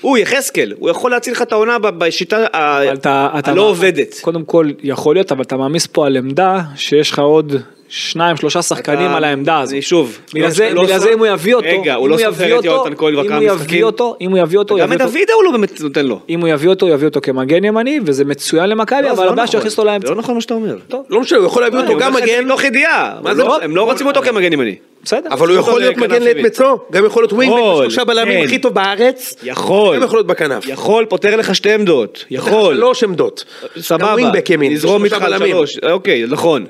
הוא יחזקאל, הוא יכול להציל לך את העונה ב- בשיטה ה- אבל אתה, אתה הלא עובדת. קודם כל יכול להיות אבל אתה מעמיס פה על עמדה שיש לך עוד שניים שלושה שחקנים אתה- על העמדה הזאת. אני שוב, בגלל לא- זה, לא בגלל סופר- זה אם הוא יביא אותו, רגע, הוא אם לא הוא סופר יביא את יונתן כהן כבר אם כמה הוא משחקים. יביא אותו, אם הוא יביא אותו, גם יביא את אותו- דוידה הוא לא באמת נותן לו. אם הוא יביא אותו, הוא יביא אותו כמגן ימני וזה מצוין למכבי, לא, זה אבל לא הבעיה נכון. שיכניס אותו זה לאמצע. לא נכון מה שאתה אומר. לא משנה, הוא יכול להביא אני אותו אומר גם לך את זה מגן, מתוך ידיעה, מה אבל זה לא- לא- הם לא רוצים אותו כמגן ימני. בסדר. אבל הוא אותו יכול להיות לכנף מגן ימין. לעת מצוא, גם יכול להיות ווינגמן, יכול, שלושה בלמים כן. הכי טוב בארץ, יכול. גם יכול להיות בכנף. יכול, פותר לך שתי עמדות. יכול. שלוש עמדות. גם סבבה, ווינגבק ימין, נזרום שלושה איתך על בלמים. שלוש, אוקיי, נכון.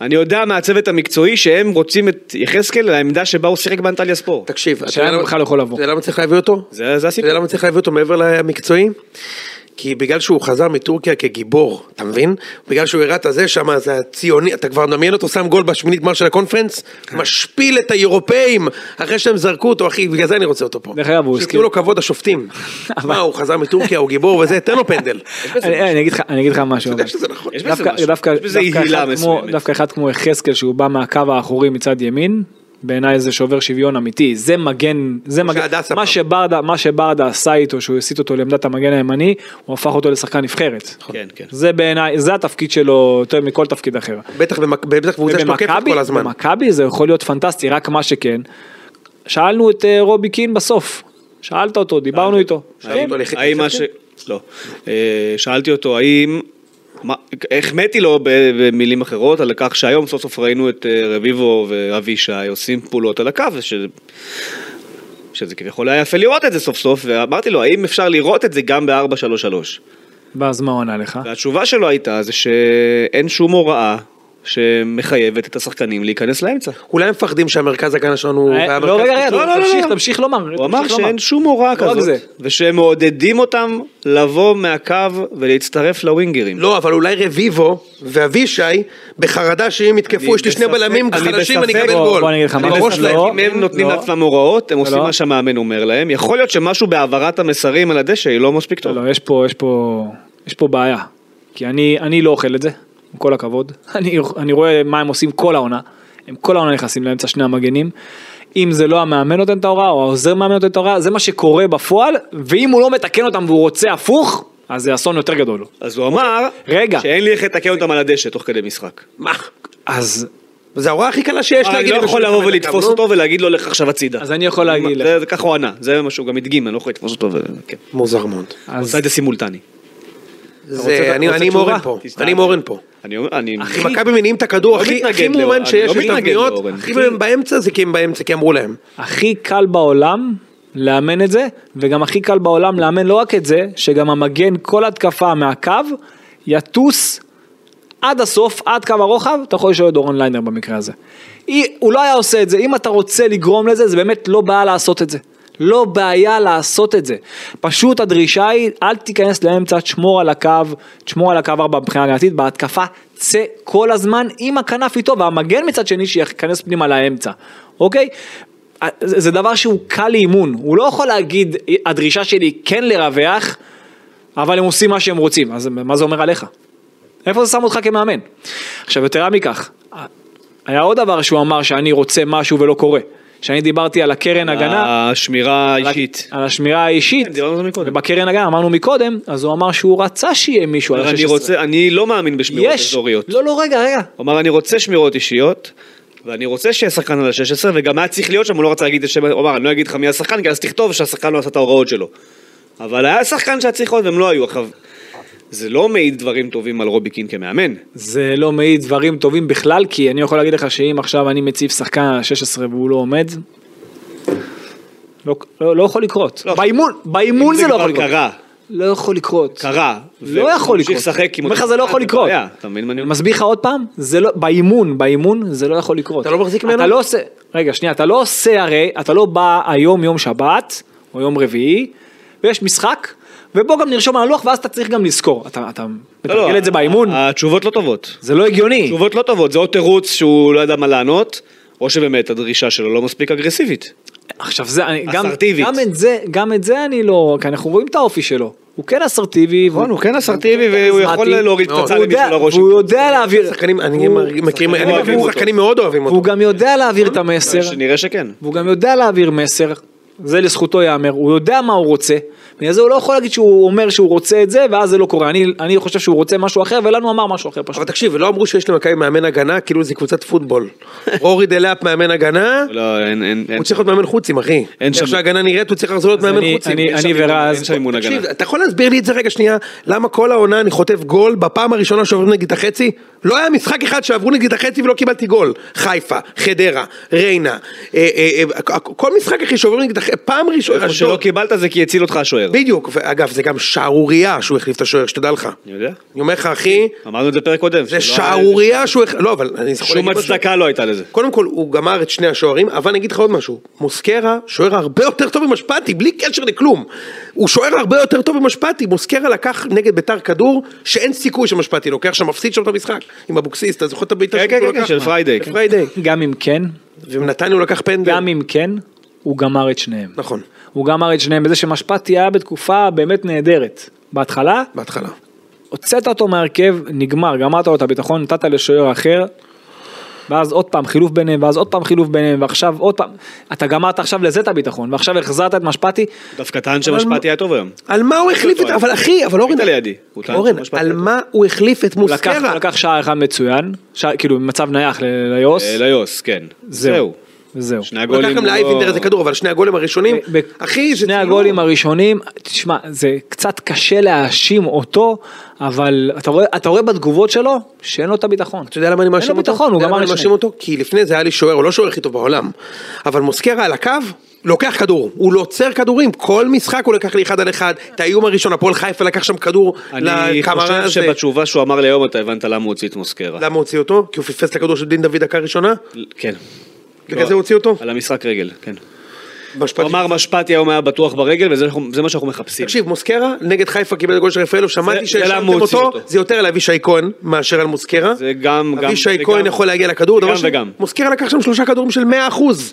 אני יודע מהצוות המקצועי שהם רוצים את יחזקאל לעמדה שבה הוא שיחק באנטליה ספורט. תקשיב, אתה השאלה יודע אם למה- בכלל הוא יכול לבוא. אתה יודע למה צריך להביא אותו? זה זה אתה יודע הסיפור. למה צריך להביא אותו מעבר למקצועי? כי בגלל שהוא חזר מטורקיה כגיבור, אתה מבין? בגלל שהוא הראה את הזה שם, זה הציוני, אתה כבר מדמיין אותו שם גול בשמינית גמר של הקונפרנס, כן. משפיל את האירופאים, אחרי שהם זרקו אותו, אחי, בגלל זה אני רוצה אותו פה. דרך אגב, הוא שייתנו הזכיר- לו (laughs) כבוד השופטים. מה, הוא חזר מטורקיה, הוא גיבור וזה, תן לו פנדל. יש בזה- אני אני אגיד לך- אני אגיד לך משהו. אתה יודע אבל. שזה נכון. יש בזה דווקא- משהו, דווקא- יש בזה דווקא יעילה אחד כמו- מסוימת. דווקא אחד כמו יחזקאל שהוא בא מהקו האחורי מצד ימין, בעיניי זה שובר שוויון אמיתי, זה מגן, זה מגן, שהדסה מה פעם. שברדה, מה שברדה עשה איתו, שהוא הסיט אותו לעמדת המגן הימני, הוא הפך אותו לשחקן נבחרת. כן, כן. זה בעיניי, זה התפקיד שלו יותר מכל תפקיד אחר. בטח במק- בטח קבוצה שתוקפת ובמכבי- כל הזמן. במכבי זה יכול להיות פנטסטי, רק מה שכן, שאלנו את אה, רובי קין בסוף, שאלת אותו, דיברנו איתו. אה, שאלנו אותו על יחיד האם מה ש... יחזקאל? לא. אה, שאלתי אותו האם... מה- החמאתי לו ב- במילים אחרות על כך שהיום סוף סוף ראינו את אה, רביבו ואבישי עושים פעולות על הקו, וש- שזה כביכול היה יפה לראות את זה סוף סוף, ואמרתי לו האם אפשר לראות את זה גם ב-433. ואז מה הוא ענה לך? והתשובה שלו הייתה זה שאין שום הוראה שמחייבת את השחקנים להיכנס לאמצע. אולי הם מפחדים שהמרכז הגנה שלנו... הוא אה, והמרכז- לא, רגע, רגע, לא, לא, לא, תמשיך, לא. תמשיך לומר. הוא אמר תמשיך לומר. שאין שום הוראה לא רק זה. כזאת, ושהם מעודדים אותם לבוא מהקו ולהצטרף לווינגרים. לא, אבל אולי רביבו ואבישי בחרדה שאם יתקפו, יש לי שני בספק- בלמים אני חלשים, אני בספק- אקבל בוא- גול. בוא אני אגיד לך מה, אני בראש בספק להם. לא. אם הם נותנים לא. לעצמם הוראות, הם עושים לא. מה שהמאמן אומר להם. יכול להיות שמשהו בהעברת המסרים על הדשא היא לא מספיק טוב. לא, לא, יש פה, יש פה, יש פה בעיה. כי אני, אני לא אוכל את זה, עם כל הכבוד. (laughs) אני, אני רואה מה הם עושים כל העונה. הם כל העונה נכנסים לאמצע שני המגנים. אם זה לא המאמן נותן את ההוראה, או העוזר מאמן נותן את ההוראה, זה מה שקורה בפועל, ואם הוא לא מתקן אותם והוא רוצה הפוך, אז זה אסון יותר גדול. אז הוא אמר, רגע. שאין לי איך לתקן אותם על הדשא תוך כדי משחק. מה? אז, זו ההוראה הכי קלה שיש אני להגיד. לא לי יכול בשביל לבוא לקבל ולתפוס הקו, נו. אותו ולהגיד לו לך עכשיו הצידה. אז אני יכול להגיד זה- לך. זה ככה הוא ענה, זה מה שהוא גם הדגים, אני לא יכול לתפוס אותו. ו- כן. מוזר מאוד. הוא אז עשה את זה סימולטני. זה- רוצה- אני רוצה אני עם תשובה? אורן פה. תסתכל. אני עם אורן פה. אני אומר, אני... כי מכבי מניעים את הכדור לא הכי מתנגד הכי לאורן, מאומן אני שיש, לא יש מתנגד תבניות, לאורן. הכי הם באמצע זה כי הם באמצע, כי אמרו להם. הכי קל בעולם לאמן את זה, וגם הכי קל בעולם לאמן לא רק את זה, שגם המגן כל התקפה מהקו יטוס עד הסוף, עד קו הרוחב, אתה יכול לשאול את דורון ליינר במקרה הזה. אי, הוא לא היה עושה את זה, אם אתה רוצה לגרום לזה, זה באמת לא בעיה לעשות את זה. לא בעיה לעשות את זה. פשוט הדרישה היא, אל תיכנס לאמצע, תשמור על הקו, תשמור על הקו ארבע מבחינה הגנתית, בהתקפה צא כל הזמן עם הכנף איתו, והמגן מצד שני שייכנס פנימה לאמצע, אוקיי? זה זה דבר שהוא קל לאימון, הוא לא יכול להגיד, הדרישה שלי כן לרווח, אבל הם עושים מה שהם רוצים, אז מה זה אומר עליך? איפה זה שם אותך כמאמן? עכשיו יתרה מכך, היה עוד דבר שהוא אמר שאני רוצה משהו ולא קורה, שאני דיברתי על הקרן הגנה, השמירה על ה- אה, האישית. על השמירה האישית, כן, דיברנו על זה מקודם. ובקרן הגנה אמרנו מקודם, אז הוא אמר שהוא רצה שיהיה מישהו על אני ה-16. רוצה, אני לא מאמין בשמירות יש, אזוריות. לא לא רגע רגע, הוא אמר, אני רוצה שמירות אישיות, ואני רוצה שיהיה שחקן על ה-16, וגם היה צריך להיות שם, הוא לא רצה להגיד את השם, הוא אמר, אני לא אגיד לך מי השחקן, כי אז תכתוב שהשחקן לא עשה את ההוראות שלו. אבל היה שחקן שהיה צריך להיות, והם לא היו. עכשיו, זה לא מעיד דברים טובים על רובי קין כמאמן. זה לא מעיד דברים טובים בכלל, כי אני יכול להגיד לך שאם עכשיו אני מציב שחקן על ה-16 והוא לא עומד, לא, לא, לא יכול לקרות. לא. באימון, באימון זה, אם לא יכול לקרות. כבר קרה, לא יכול לקרות. קרה. לא יכול לקרות. לשחק עם... אומר לך אותו זה לא שחקן, יכול לקרות. בעיה, אתה מבין מה אני אני אומר? מסביר לך עוד פעם, זה לא, באימון, באימון זה לא יכול לקרות. אתה לא מחזיק ממנו? אתה לא עושה, רגע שנייה, אתה לא עושה הרי, אתה לא בא היום יום שבת, או יום רביעי, ויש משחק, ובוא גם נרשום על הלוח ואז אתה צריך גם לזכור. אתה, אתה לא, לא, מתרגל את זה באימון? התשובות לא טובות. זה לא הגיוני. תשובות לא טובות, זה או תירוץ שהוא לא ידע מה לענות, או שבאמת הדרישה שלו לא מספיק אגרסיבית. עכשיו זה, אני, גם, אסרטיבית. גם את זה, גם את זה אני לא, כי אנחנו רואים את האופי שלו. הוא כן אסרטיבי. נכון, והוא- הוא כן אסרטיבי והוא כריזמטי, יכול להוריד מאוד. פצצה והוא למישהו יודע- לראש. והוא יודע להעביר, שחקנים, אני הוא- מכיר- מכירים, שחקנים אני אוהבים מכיר אותו. שחקנים מאוד אוהבים והוא אותו. גם יודע להעביר לא, את המסר, נראה שכן. והוא גם יודע להעביר מסר, זה לזכותו ייאמר, הוא יודע מה הוא רוצה, בגלל זה הוא לא יכול להגיד שהוא אומר שהוא רוצה את זה ואז זה לא קורה, אני, אני חושב שהוא רוצה משהו אחר ולנו אמר משהו אחר אבל פשוט. תקשיב, לא אמרו שיש למכבי מאמן הגנה, כאילו זה קבוצת פוטבול. (laughs) רורי דלאפ מאמן הגנה, לא, אין, אין, אין. הוא צריך להיות מאמן חוצים, אחי. אין שם- איך שההגנה נראית, הוא צריך לחזור להיות מאמן אני- חוצים. אני- אין שם אימון, ורז- אין שם אימון הגנה. תקשיב, אתה יכול להסביר לי את זה רגע שנייה? למה כל העונה אני חוטף גול בפעם הראשונה שעוברים נגד את החצי? לא היה משחק אחד שעברו נגד את החצי ולא קיבלתי גול. חיפה, חדרה, ריינה. אה, אה, אה, כל משחק אחי שעוברים נגד את פעם ראשונה, איפה שלא אשדוד. קיבלת זה כי הציל אותך השוער. בדיוק, ואגב זה גם שערורייה שהוא החליף את השוער, שתדע לך. אני יודע. אני אומר לך אחי, אמרנו את זה בפרק קודם. זה שלא- שערורייה שהוא, הח- לא אבל אני יכול שום להגיד משהו. הצדקה לא הייתה לזה. קודם כל הוא גמר את שני השוערים, אבל אני אגיד לך עוד משהו, מוסקרה שוער הרבה יותר טוב ממשפטי, בלי קשר לכלום. הוא שוער הרבה יותר טוב ממשפטי, מוסקרה לקח נגד ביתר כדור שאין סיכוי שמשפטי לוקח, שמפסיד שם את המשחק, עם אבוקסיס, אתה זוכר את הביתה כן, שהוא כן, כן, לקח? של פריידי, כן. פריידי, גם אם כן, ונתניה הוא לקח פנדל, גם אם כן, הוא גמר את שניהם. נכון, הוא גמר את שניהם בזה שמשפטי היה בתקופה באמת נהדרת. בהתחלה, בהתחלה. הוצאת אותו מהרכב, נגמר, גמרת לו את הביטחון, נתת לשוער אחר, ואז עוד פעם חילוף ביניהם, ואז עוד פעם חילוף ביניהם, ועכשיו עוד פעם, אתה גמרת עכשיו לזה את הביטחון, ועכשיו החזרת את משפטי, דווקא טען שמשפטי היה טוב היום. על מה הוא החליף את, טוען. אבל אחי, אבל אורן, היית לידי, הוא טען אורן, שמשפטי על היה טוב. מה הוא החליף את הוא לקח, הוא מוסקרה? לקח שער אחד מצוין, שער, כאילו במצב נייח ל- ליוס, לא- אה, ליוס, כן. זהו, זהו. שני הוא הגולים. לקח גם הוא לא- לאייבינדר איזה כדור, אבל שני הגולים הראשונים, ב- אחי, זה שני צילום. הגולים הראשונים, תשמע, זה קצת קשה להאשים אותו, אבל אתה רואה, אתה רואה בתגובות שלו שאין לו את הביטחון. אתה יודע למה אני מאשים אין לו אותו? ביטחון, הוא אתה יודע גמר למה אני את מאשים שניהם. אותו? כי לפני זה היה לי שוער, הוא לא שוער הכי טוב בעולם. אבל מוסקרה על הקו, לוקח כדור. הוא לוצר כדורים. כל משחק הוא לקח לי אחד על אחד. את האיום הראשון, הפועל חיפה לקח שם כדור אני לקמרה חושב הזה. שבתשובה שהוא אמר לי היום אתה הבנת למה הוא הוציא את מוסקרה. למה הוציא אותו? כי הוא פספס את הכדור של דין דוד דקה ראשונה? כן. בגלל זה הוציא אותו? על המשחק רגל, כן. משפטי. הוא אמר משפטי היום היה בטוח ברגל וזה אנחנו- זה מה שאנחנו מחפשים. תקשיב, מוסקרה נגד חיפה קיבל את גול של רפאלוב, שמעתי זה למה שהשארתם הוא הוציא אותו, אותו. זה יותר על אבישי כהן מאשר על מוסקרה. זה גם, גם, אבישי זה כהן גם. יכול להגיע לכדור, זה דבר גם שני, וגם. מוסקרה לקח שם שלושה כדורים של 100%.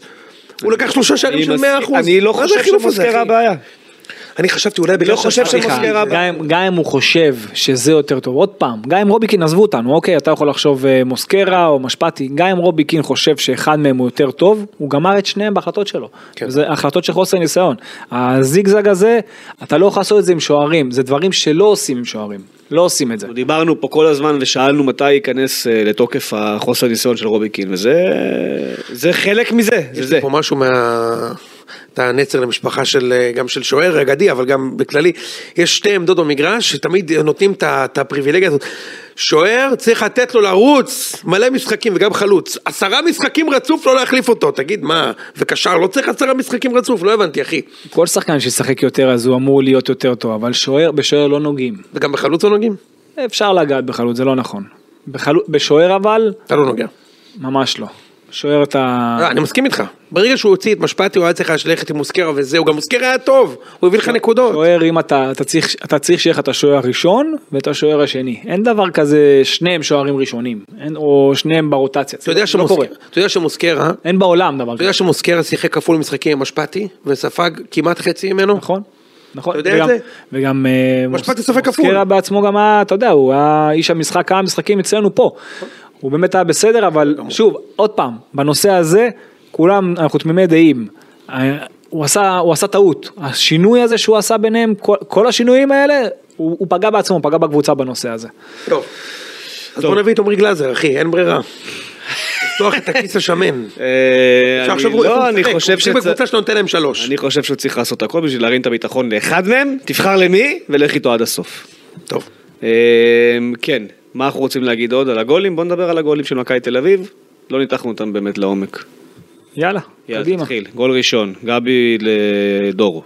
הוא לקח שלושה שערים אני של 100%. מס- אני לא מה זה חושב החילוף הזה, שמוסקרה אחי? הבעיה. אני חשבתי אולי בגלל חושב שאני- שמוסקרה- סליחה. הבא. גם אם- גם אם הוא חושב שזה יותר טוב, עוד פעם, גם אם רוביקין עזבו אותנו, אוקיי, אתה יכול לחשוב אה, מוסקרה או משפטי, גם אם רוביקין חושב שאחד מהם הוא יותר טוב, הוא גמר את שניהם בהחלטות שלו. כן. זה החלטות של חוסר ניסיון. הזיגזג הזה, אתה לא יכול לעשות את זה עם שוערים, זה דברים שלא עושים עם שוערים, לא עושים את זה. אנחנו דיברנו פה כל הזמן ושאלנו מתי ייכנס אה, לתוקף החוסר ניסיון של רובי קין וזה זה חלק מזה, זה יש זה. לי פה משהו מה... אתה נצר למשפחה של, אה, גם של שוער אגדי, אבל גם בכללי. יש שתי עמדות במגרש שתמיד נותנים את ה- את הפריבילגיה הזאת. שוער צריך לתת לו לרוץ מלא משחקים וגם חלוץ. עשרה משחקים רצוף לא להחליף אותו, תגיד מה, וקשר לא צריך עשרה משחקים רצוף, לא הבנתי אחי. כל שחקן שישחק יותר אז הוא אמור להיות יותר טוב, אבל שוער, בשוער לא נוגעים. וגם בחלוץ לא נוגעים? אפשר לגעת בחלוץ, זה לא נכון. בחלו- בשוער אבל, אתה לא נוגע. ממש לא. שוער אתה... לא, אני מסכים איתך. ברגע שהוא הוציא את משפטי הוא היה צריך ללכת עם מוסקרה וזהו, גם מוסקרה היה טוב, הוא הביא לך נקודות. שוער אם אתה, אתה צריך, אתה צריך שיהיה לך את השוער הראשון ואת השוער השני. אין דבר כזה שניהם שוערים ראשונים, אין, או שניהם ברוטציה. אתה יודע זה לא קורה. שמוסקרה- אתה יודע שמוסקרה, אין בעולם דבר אתה יודע כזה. שמוסקרה שיחק כפול משחקים עם משפטי וספג כמעט חצי ממנו? נכון. נכון. אתה יודע וגם- את זה? וגם אה, משפט מוס- יספק כפול. מוסקרה בעצמו גם היה, אתה יודע, הוא היה איש המשחק, כמה משחקים אצלנו פה. הוא באמת היה בסדר, אבל לא. שוב, עוד פעם, בנושא הזה, כולם, אנחנו תמימי דעים. אה, הוא עשה, הוא עשה טעות. השינוי הזה שהוא עשה ביניהם, כל, כל השינויים האלה, הוא, הוא פגע בעצמו, הוא פגע בקבוצה בנושא הזה. טוב. אז בוא נביא את עמרי גלאזר אחי, (laughs) אין ברירה. לפתוח את הכיס השמן. אה, אני- שעכשיו הוא איפה לא, הוא אני משחק? הוא חושב משחק שצ- בקבוצה שנותן להם שלוש. אני חושב שהוא צריך לעשות הכל בשביל להרים את הביטחון לאחד מהם, תבחר למי ולך איתו עד הסוף. טוב. אה, כן, מה אנחנו רוצים להגיד עוד על הגולים? בוא נדבר על הגולים של מכבי תל אביב, לא ניתחנו אותם באמת לעומק. יאללה, יאללה, קדימה. תתחיל, כן, גול ראשון, גבי לדור.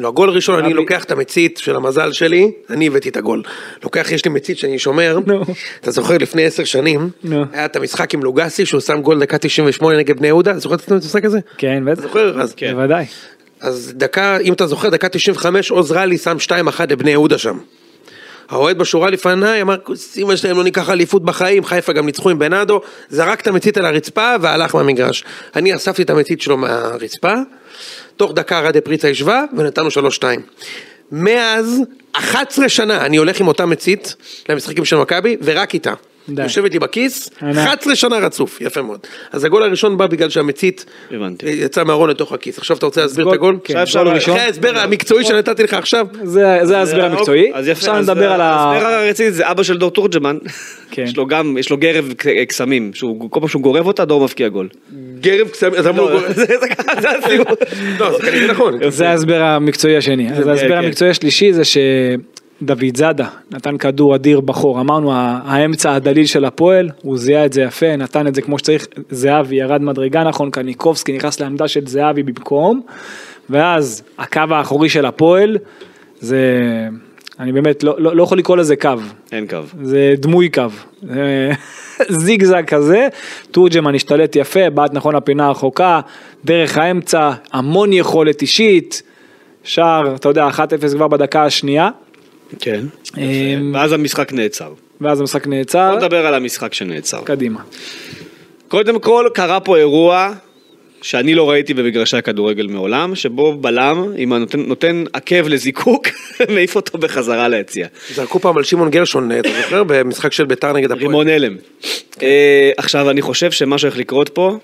לא, הגול הראשון, אני גבי- לוקח את המצית של המזל שלי, אני הבאתי את הגול. לוקח, יש לי מצית שאני שומר, נו. אתה זוכר לפני עשר שנים, נו. היה את המשחק עם לוגסי שהוא שם גול דקה 98 נגד בני יהודה, זוכר את המשחק הזה? כן, אתה בטח. זוכר? אז כן. בוודאי. אז דקה, אם אתה זוכר, דקה 95, עוז רלי שם 2-1 לבני יהודה שם. האוהד בשורה לפניי אמר, "כוס אימא שלהם לא ניקח אליפות בחיים, חיפה גם ניצחו עם בנאדו, זרק את המצית על הרצפה והלך מהמגרש. אני אספתי את המצית שלו מהרצפה, תוך דקה רדה פריצה ישבה ונתנו 3-2. מאז 11 שנה אני הולך עם אותה מצית למשחקים של מכבי ורק איתה. די. יושבת לי בכיס, ענק. 11 שנה רצוף, יפה מאוד. אז הגול הראשון בא בגלל שהמצית הבנתי. יצא מהארון לתוך הכיס. עכשיו אתה רוצה להסביר את גול- הגול? לא, כן, אפשר גול לה- ראשון. אחרי ההסבר המקצועי שנתתי לך עכשיו, זה זה ההסבר אוקיי, המקצועי. אז יפה, עכשיו אז נדבר על ה... ההסבר הרציני זה אבא של דור תורג'מן. כן. יש לו גם, יש לו גרב ק- קסמים, שהוא- כל פעם שהוא גורב אותה דור מבקיע גול. גרב קסמים, אז אמרו, זה- זה- זה הסיבוב. (laughs) לא, זה כנראה נכון. זה ההסבר המקצועי השני. אז ההסבר כן. המקצועי השלישי זה שדוד זאדה נתן כדור אדיר בחור. אמרנו ה- האמצע הדליל של הפועל, הוא זיהה את זה יפה, נתן את זה כמו שצריך. זהבי ירד מדרגה נכון, קניקובסקי נכנס לעמדה של זהבי במקום. ואז הקו האחורי של הפועל, זה, אני באמת לא, לא, לא יכול לקרוא לזה קו, אין קו. זה דמוי קו, זה זיגזג כזה, תורג'מן השתלט יפה, בעט נכון לפינה הרחוקה, דרך האמצע, המון יכולת אישית, שער, אתה יודע, 1-0 כבר בדקה השנייה, כן. אמ, ואז המשחק נעצר. ואז המשחק בוא נעצר, נדבר על המשחק שנעצר. קדימה. קודם כל, קרה פה אירוע שאני לא ראיתי במגרשי הכדורגל מעולם, שבו בלם, אם הנותן, נותן עקב לזיקוק, (laughs) מעיף אותו בחזרה ליציאה. זרקו פעם על שמעון גרשון, אתה זוכר? במשחק של ביתר נגד הפועל. כן. רימון הלם. אה, עכשיו, אני חושב שמה שהולך לקרות פה,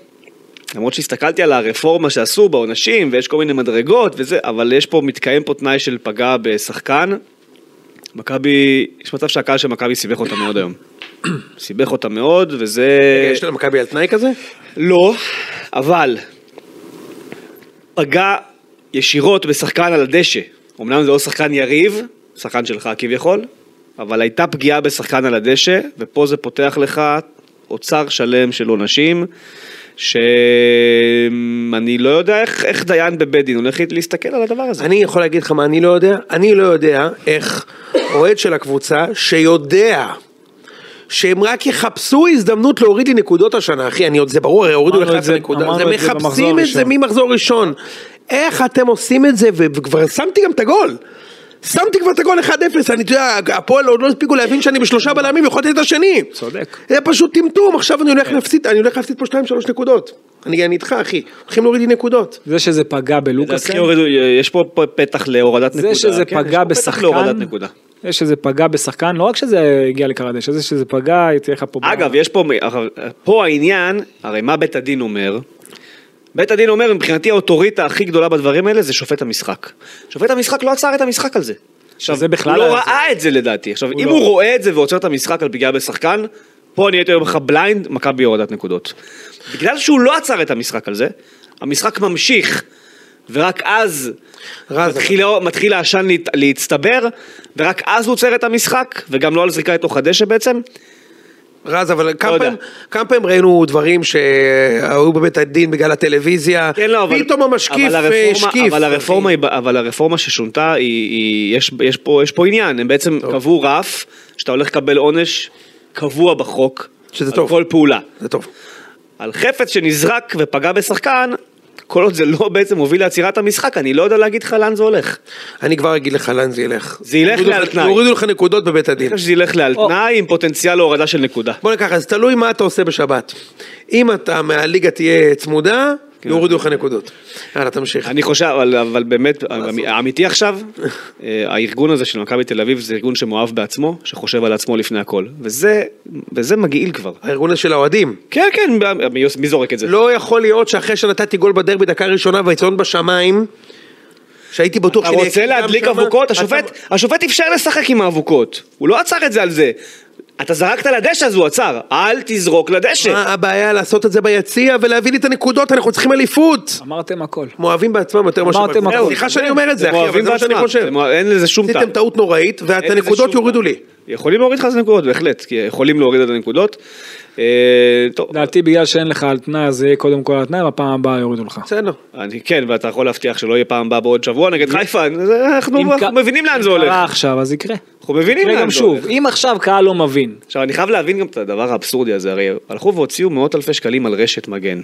למרות שהסתכלתי על הרפורמה שעשו בעונשים, ויש כל מיני מדרגות וזה, אבל יש פה, מתקיים פה תנאי של פגע בשחקן. מכבי, יש מצב שהקהל של מכבי סיבך אותה מאוד היום. (coughs) סיבך אותה מאוד, וזה... יש למכבי על תנאי כזה? לא, אבל פגע ישירות בשחקן על הדשא. אמנם זה לא שחקן יריב, שחקן שלך כביכול, אבל הייתה פגיעה בשחקן על הדשא, ופה זה פותח לך אוצר שלם של עונשים, שאני לא יודע איך, איך דיין בבית דין הולך להסתכל על הדבר הזה. אני יכול להגיד לך מה אני לא יודע? אני לא יודע איך אוהד של הקבוצה שיודע שהם רק יחפשו הזדמנות להוריד לי נקודות השנה, אחי, אני עוד, זה ברור, הרי הורידו לך אמרנו את את זה- הנקודה, אמרנו אז הם את זה במחזור מחפשים את זה הראשון. ממחזור ראשון. איך אתם עושים את זה, ו- וכבר שמתי גם את הגול. שמתי כבר את הגול 1-0, אני, אתה יודע, הפועל עוד לא הספיקו להבין שאני בשלושה בלמים, יכולתי את השני. צודק. זה פשוט טמטום, עכשיו אני הולך להפסיד, אני הולך להפסיד פה 2-3 נקודות. אני אני איתך, אחי, הולכים להוריד לי נקודות. זה שזה פגע לדעתי בלוקאסן, הורידו- יש פה פתח להורדת נקודה. זה שזה כן, יש פגע פה פתח בשחקן, להורדת נקודה. זה שזה פגע בשחקן, לא רק שזה הגיע לקרדש, זה שזה פגע, תהיה לך פה... בעיה. אגב, יש פה, אה, פה העניין, הרי מה בית הדין אומר? בית הדין אומר, מבחינתי האוטוריטה הכי גדולה בדברים האלה זה שופט המשחק. שופט המשחק לא עצר את המשחק על זה. עכשיו, שזה בכלל הוא לא היה ראה את זה לדעתי. עכשיו, אם לא. הוא רואה את זה ועוצר את המשחק על פגיעה בשחקן, פה אני הייתי אומר לך בליינד, מכבי הורדת נקודות. בגלל שהוא לא עצר את המשחק על זה, המשחק ממשיך, ורק אז רז, מתחיל, מתחיל העשן להת, להצטבר, ורק אז הוא עוצר את המשחק, וגם לא על זריקה לתוך הדשא בעצם. רז, אבל כמה לא יודע. פעמים- כמה פעמים ראינו דברים שהיו בבית הדין בגלל הטלוויזיה, כן, לא, אבל... פתאום המשקיף אבל אה, הרפורמה- השקיף. אבל הרפורמה, היא ב- אבל הרפורמה ששונתה, היא, היא, יש, יש, פה, יש פה עניין. הם בעצם טוב. קבעו רף, שאתה הולך לקבל עונש קבוע בחוק. שזה על טוב. כל פעולה. אוקיי. זה טוב. על חפץ שנזרק ופגע בשחקן, כל עוד זה לא בעצם מוביל לעצירת המשחק, אני לא יודע להגיד לך לאן זה הולך. אני כבר אגיד לך לאן זה ילך. זה ילך יורידו לך- לעל תנאי. יורידו לך נקודות בבית אני הדין. חושב שזה ילך לעל או. תנאי עם פוטנציאל להורדה של נקודה. בוא ניקח, אז תלוי מה אתה עושה בשבת. אם אתה מהליגה תהיה צמודה, יורידו לך נקודות. יאללה, תמשיך. כן. אני חושב, אבל, אבל באמת, האמיתי עכשיו, אה, הארגון הזה של מכבי תל אביב זה ארגון שמואב בעצמו, שחושב על עצמו לפני הכל. וזה, וזה מגעיל כבר. הארגון הזה של האוהדים. כן, כן, מי, מי זורק את זה? לא יכול להיות שאחרי שנתתי גול בדרבי דקה ראשונה והיציון בשמיים, שהייתי בטוח אתה שאני רוצה אקיא גם להדליק שמה, אבוקות? אתה- השופט, השופט אפשר לשחק עם האבוקות. הוא לא עצר את זה על זה. אתה זרקת לדשא, אז הוא עצר. אל תזרוק לדשא. מה הבעיה לעשות את זה ביציע ולהביא לי את הנקודות? אנחנו צריכים אליפות. אמרתם הכל. הם אוהבים בעצמם יותר מאשר... אמרתם אה, בקבוצה. הכל. סליחה שאני אומר את זה, לא, הם אחי, אבל אוהבים זה מה שאני בעצמם. חושב. הם אוה- אין לזה שום טעם. עשיתם טעות נוראית, אין לזה והנקודות שום יורידו טעם. לי. יכולים להוריד לך את הנקודות, בהחלט. כי יכולים להוריד את הנקודות. אה, טוב. לדעתי בגלל שאין לך על תנאי, אז זה יהיה קודם כל על תנאי, בפעם הבאה יורידו לך. בסדר. אני, כן, ואתה יכול להבטיח שלא יהיה פעם הבאה בעוד שבוע נגד חיפה, זה- אם אנחנו אנחנו ק- מבינים לאן זה אם הולך. קרה עכשיו, אז יקרה. אנחנו מבינים יקרה לאן גם זה הולך. שוב, אם עכשיו קהל לא מבין, עכשיו, אני חייב להבין גם את הדבר האבסורדי הזה, הרי הלכו והוציאו מאות אלפי שקלים על רשת מגן.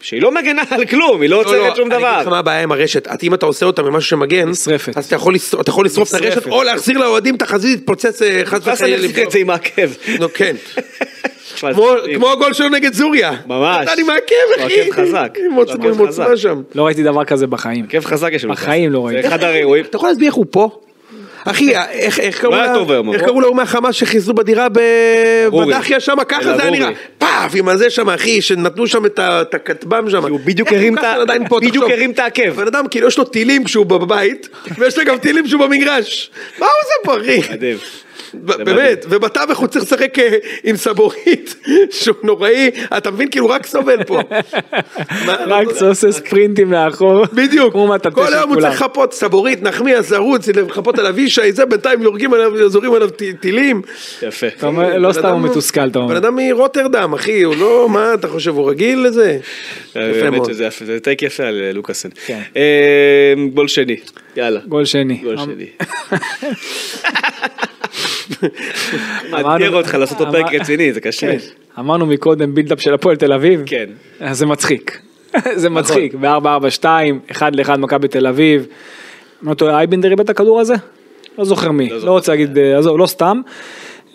שהיא לא מגנה על כלום, היא לא לא, לא, עוצרת שום אני אגיד לך דבר. מה הבעיה עם הרשת, את- אם אתה עושה אותה ממשהו שמגן, נשרפת. אז אתה יכול לשרוף- אתה יכול לשרוף את הרשת, נשרפת. או להחזיר לאוהדים את החזית, להתפוצץ אה, חס חסן וחלילה. יחזיק את זה עם העקב. נו כן, תשמע, כמו- זה- כמו הגול שלו נגד זוריה. ממש. אני מעכב הוא אחי. עקב חזק. עם הוא עקב עוצמה- עם עוצמה חזק. שם. לא ראיתי דבר כזה בחיים. עקב חזק יש לנו. בחיים לא זה ראיתי. אחד הראויים. אתה יכול להסביר איך הוא פה? (laughs) אחי, אה, איך איך קראו היה לה- טוב היום, איך אבל- קראו לו מהחמאס שחיזרו בדירה ב- אורי. בדחיה שם, ככה אלא זה היה אורי. נראה. פאף, עם הזה שם, אחי, שנתנו שם את ה- את הכטב"ם שם. הוא בדיוק איך הרים הוא את ה- ככה עדיין פה, בדיוק תחשוב. הרים את העקב. בן אדם, (laughs) כאילו יש לו טילים כשהוא בבית, ויש לו גם טילים כשהוא במגרש. מה הוא עושה פה, אחי? מדהים. באמת, ובתווך הוא צריך לשחק אה, עם סבורית, (laughs) שהוא נוראי, אתה מבין, כאילו הוא רק סובל פה. (laughs) רק עושה ספרינטים לאחור. בדיוק, כמו מטאטא כל של היום הוא כולם. צריך לחפות, סבורית, נחמיאס, זרוץ, לחפות על אבישי, זה בינתיים יורגים עליו, זורים עליו ט- טילים. יפה. אתה אומר, לא בן סתם הוא אדם- מתוסכל, אתה אומר. בן אדם מרוטרדם, אחי, הוא לא, מה, אתה חושב, הוא רגיל לזה? אה, יפה האמת מאוד. אה, שזה יפה, זה טייק יפה על אה, לוקאסן. כן. אה, גול שני, יאללה. גול שני. גול אמ- (laughs) שני. אמרנו- מאתגר אותך לעשות אותו פרק אמר- רציני, זה קשה. כן. אמרנו מקודם בילדאפ של הפועל תל אביב. כן. אז זה מצחיק. (laughs) זה מצחיק. ב-4-4-2, 1 ל-1 מכבי תל אביב. אם לא טועה, אייבינדר איבד את הכדור הזה? לא זוכר מי. זוכר. לא רוצה להגיד, אה, עזוב, לא סתם.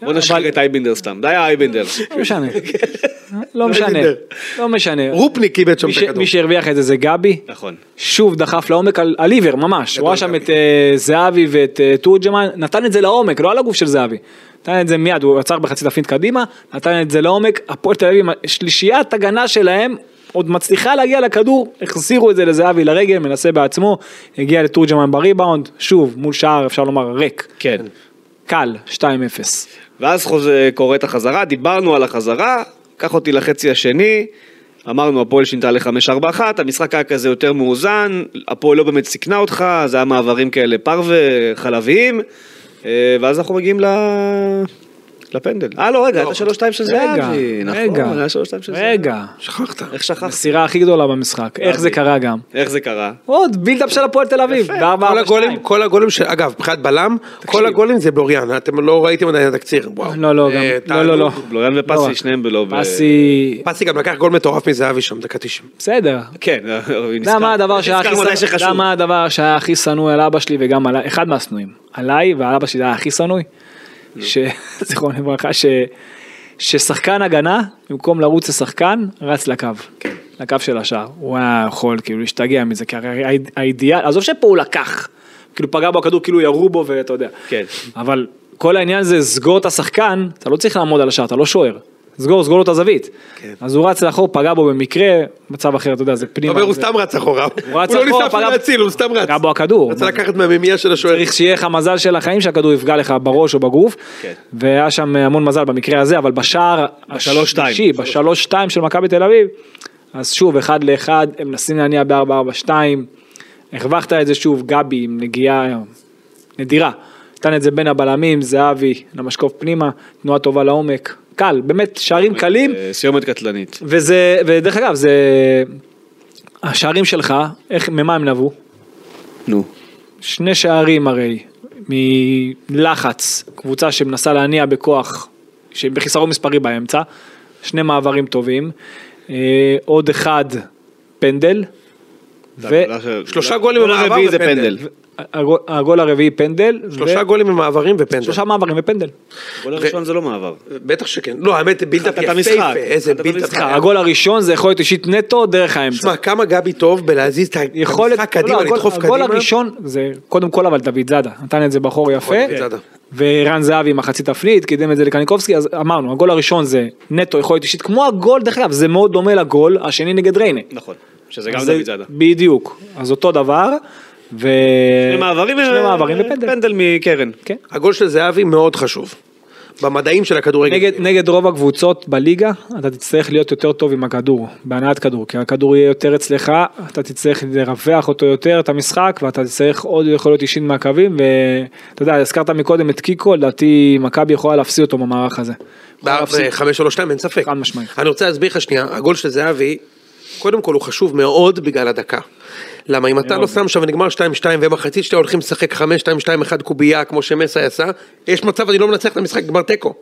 בוא נשחק את אייבינדר סתם, די אייבינדר. לא משנה. לא משנה. אייבינדר. לא משנה. רופניק איבד שם מי את ש- הכדור. מי שהרוויח את זה זה גבי. נכון. שוב דחף לעומק על, על עיוור ממש, הוא ראה שם גבי. את אה, זהבי ואת אה, תורג'מן, נתן את זה לעומק, לא על הגוף של זהבי, נתן את זה מיד, הוא עצר בחצי תפנית קדימה, נתן את זה לעומק, הפועל תל אביב, שלישיית הגנה שלהם עוד מצליחה להגיע לכדור, החזירו את זה לזהבי לרגל, מנסה בעצמו, הגיע לתורג'מן בריבאונד, שוב מול שער אפשר לומר ריק, כן. קל, 2-0. ואז חוזר, קורה את החזרה, דיברנו על החזרה, קח אותי לחצי השני, אמרנו הפועל שינתה ל-5-4-1, המשחק היה כזה יותר מאוזן, הפועל לא באמת סיכנה אותך, זה היה מעברים כאלה פרווה, חלביים, אה, ואז אנחנו מגיעים ל... לפנדל. אה לא, רגע, לא. הייתה 3-2 של רגע, זהבי, נכון, רגע, היה 3-2 של זהבי. רגע, שכחת. איך שכחת? המסירה הכי גדולה במשחק, איך זה זהבי. קרה גם. איך זה קרה? עוד בילדאפ של הפועל תל אביב, בארבע, כל ארבע, הגולים, שתיים. כל הגולים, ש- אגב, מבחינת בלם, כל הגולים זה בלוריאן, אתם לא ראיתם עדיין את התקציר, וואו. לא, לא, גם, אה, לא, לא, לא. תענוג. בלוריאן ופסי, לא. שניהם בלא... ב- פסי, פסי גם לקח גול מטורף מזהבי שם, דקה 90. בסדר. כן, הוא אתה יודע מה הדבר שהיה הכי נזכר מתי שנוא- אתה יודע שחשוב. מה הדבר שהיה הכי שנוא על אבא שלי וגם עליי, אחד מהשנואים, עליי ועל אבא שלי זה היה הכי שנוא, (laughs) שזיכרון לברכה, ש- ששחקן הגנה, במקום לרוץ לשחקן, רץ לקו. כן. לקו של השער, הוא היה יכול כאילו להשתגע מזה, כי הרי האיד- האידיאל, עזוב שפה הוא לקח, כאילו פגע בו הכדור, כאילו ירו בו ואתה יודע, כן. אבל כל העניין זה סגור את השחקן, אתה לא צריך לעמוד על השער, אתה לא שוער. סגור, סגור לו את הזווית. כן. אז הוא רץ לאחור, פגע בו במקרה, מצב אחר, אתה יודע, זה אתה פנימה. לא אומר, הוא זה- סתם רץ אחורה. הוא רץ לא אחורה, ניסה אפילו פגע- להציל, הוא סתם רץ. פגע בו הכדור. רצה לקחת מהמימייה של השוער. צריך שיהיה לך מזל של החיים שהכדור יפגע לך בראש או בגוף. כן. והיה שם אה, המון מזל במקרה הזה, אבל בשער בשלוש שתיים. השלישי, בשלוש שתיים של מכבי תל אביב, אז שוב, אחד לאחד, הם מנסים להניע בארבע ארבע שתיים. הרווחת את זה שוב, גבי עם נגיעה נדירה. נתן את זה בין הבלמים, זהבי, למשקוף פנימה, תנועה טובה לעומק. קל, באמת, שערים קלים. אה, סיומת קטלנית. וזה, ודרך אגב, זה... השערים שלך, איך, ממה הם נבעו? נו. שני שערים הרי מלחץ, קבוצה שמנסה להניע בכוח, שבחיסרון מספרי באמצע, שני מעברים טובים, אה, עוד אחד פנדל, לא, שלושה גולים הגול במעבר הרביעי זה פנדל. ופנדל. והגול הגול הרביעי פנדל, שלושה גולים במעברים ופנדל. שלושה מעברים ופנדל. הגול הראשון זה לא מעבר. בטח שכן. לא, האמת, בילדאפ חטאת יפהפה. המשחק. איזה חטאת בילדאפ. המשחק. היה. הגול הראשון זה יכולת אישית נטו דרך האמצע. אה, שמע, כמה גבי טוב בלהזיז את יכולת, המשחק קדימה, לא, הגול- לדחוף קדימה. הגול הראשון זה קודם כל אבל דוד זאדה, נתן את זה בחור יפה, נכון, דוד זאדה. וערן זהבי עם החצי תפנית, קידם את זה לקניקובסקי, אז אמרנו, הגול הראשון זה נטו יכולת אישית, כמו הגול, דרך אגב, זה מאוד דומה לגול השני נגד ריינה. נכון. שזה גם אז אה, דוד זאדה. בדיוק, אז אותו דבר, ו... שני מעברים, שני אה, מעברים אה, ופנדל. פנדל מקרן. כן. הגול של זהבי מאוד חשוב. במדעים של הכדורגל. נגד, נגד רוב הקבוצות בליגה אתה תצטרך להיות יותר טוב עם הכדור, בהנעת כדור, כי הכדור יהיה יותר אצלך, אתה תצטרך לרווח אותו יותר, את המשחק, ואתה תצטרך עוד יכולות אישית מהקווים, ואתה יודע, הזכרת מקודם את קיקו, לדעתי מכבי יכולה להפסיד אותו במערך הזה. אה, יכולה להפסיד. ב-532 אין ספק. חד משמעית. אני רוצה להסביר לך שנייה, הגול של זהבי, קודם כל הוא חשוב מאוד בגלל הדקה. למה אם אתה לא שם שם ונגמר 2-2 ומחצית שאתה הולכים לשחק 5-2-2-1 קובייה כמו שמסי עשה, יש מצב אני לא מנצח את המשחק, גמר תיקו.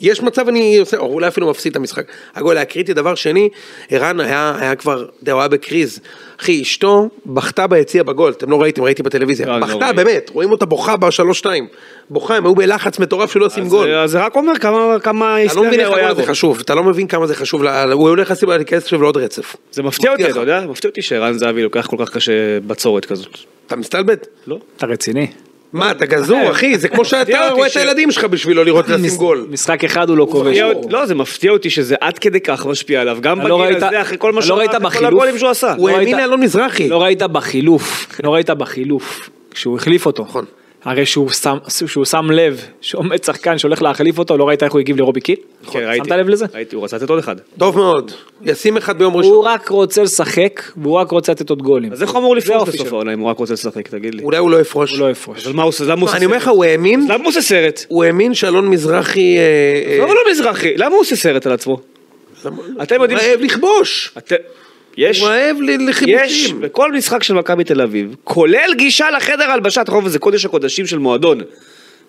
יש מצב אני עושה, או אולי אפילו מפסיד את המשחק. הגול היה קריטי, דבר שני, ערן היה, היה כבר, אתה יודע, הוא היה בקריז. אחי, אשתו בכתה ביציע בגול, אתם לא ראיתם, ראיתי לא, בטלוויזיה. אני לא בכתה, ראיתי. באמת, רואים אותה בוכה בשלוש-שתיים. בוכה, הם היו בלחץ מטורף שלא עושים גול. אז אה, זה רק אומר כמה- כמה אתה לא מבין היסטריה איך הוא הגול היה בו. הזה חשוב, אתה לא מבין כמה זה חשוב, ל- הוא הולך לשים להיכנס עכשיו לעוד רצף. זה מפתיע אותי, מבטיח. אתה יודע? מפתיע אותי שערן זהבי לוקח כל כך קשה בצורת כזאת. אתה מסתלבט? לא? אתה רציני. מה, אתה גזור, אחי, זה כמו שאתה אותי רואה את ש- הילדים שלך בשבילו לראות לשים גול. משחק אחד הוא לא כובש. מפתיע אותי- לא, זה מפתיע אותי שזה עד כדי כך משפיע עליו. גם אתה לא בגיל ראית- הזה, אחרי כל מה אתה שהוא לא עשה, ראית אחרי כל בחילוף? הגולים שהוא עשה. הוא לא האמין ראית- לאלון מזרחי. לא ראית בחילוף, לא ראית בחילוף, כשהוא החליף אותו. נכון. הרי שהוא שם, שהוא שם לב שעומד שחקן שהולך להחליף אותו, לא ראית איך הוא הגיב לרובי קיל? כן, ראיתי. שמת לב לזה? ראיתי, הוא רצה לתת עוד אחד. טוב מאוד, ישים אחד ביום ראשון. הוא רק רוצה לשחק, והוא רק רוצה לתת עוד גולים. אז איך הוא אמור לפרוש האופי בסוף שלו. העונה אם הוא רק רוצה לשחק, תגיד לי? אולי הוא לא יפרוש. הוא לא יפרוש. אז מה הוא עושה? למה הוא עושה אני אומר לך, סרט? הוא האמין, למה הוא עושה סרט? הוא האמין שאלון מזרחי... אה, אה, למה לא מזרחי? למה הוא עושה סרט על עצמו? אתם יודעים... הוא רעב לכבוש. אתם- יש, הוא רעב ל- יש, לחיבושים. בכל משחק של מכבי תל אביב, כולל גישה לחדר הלבשת חוב, וזה קודש הקודשים של מועדון.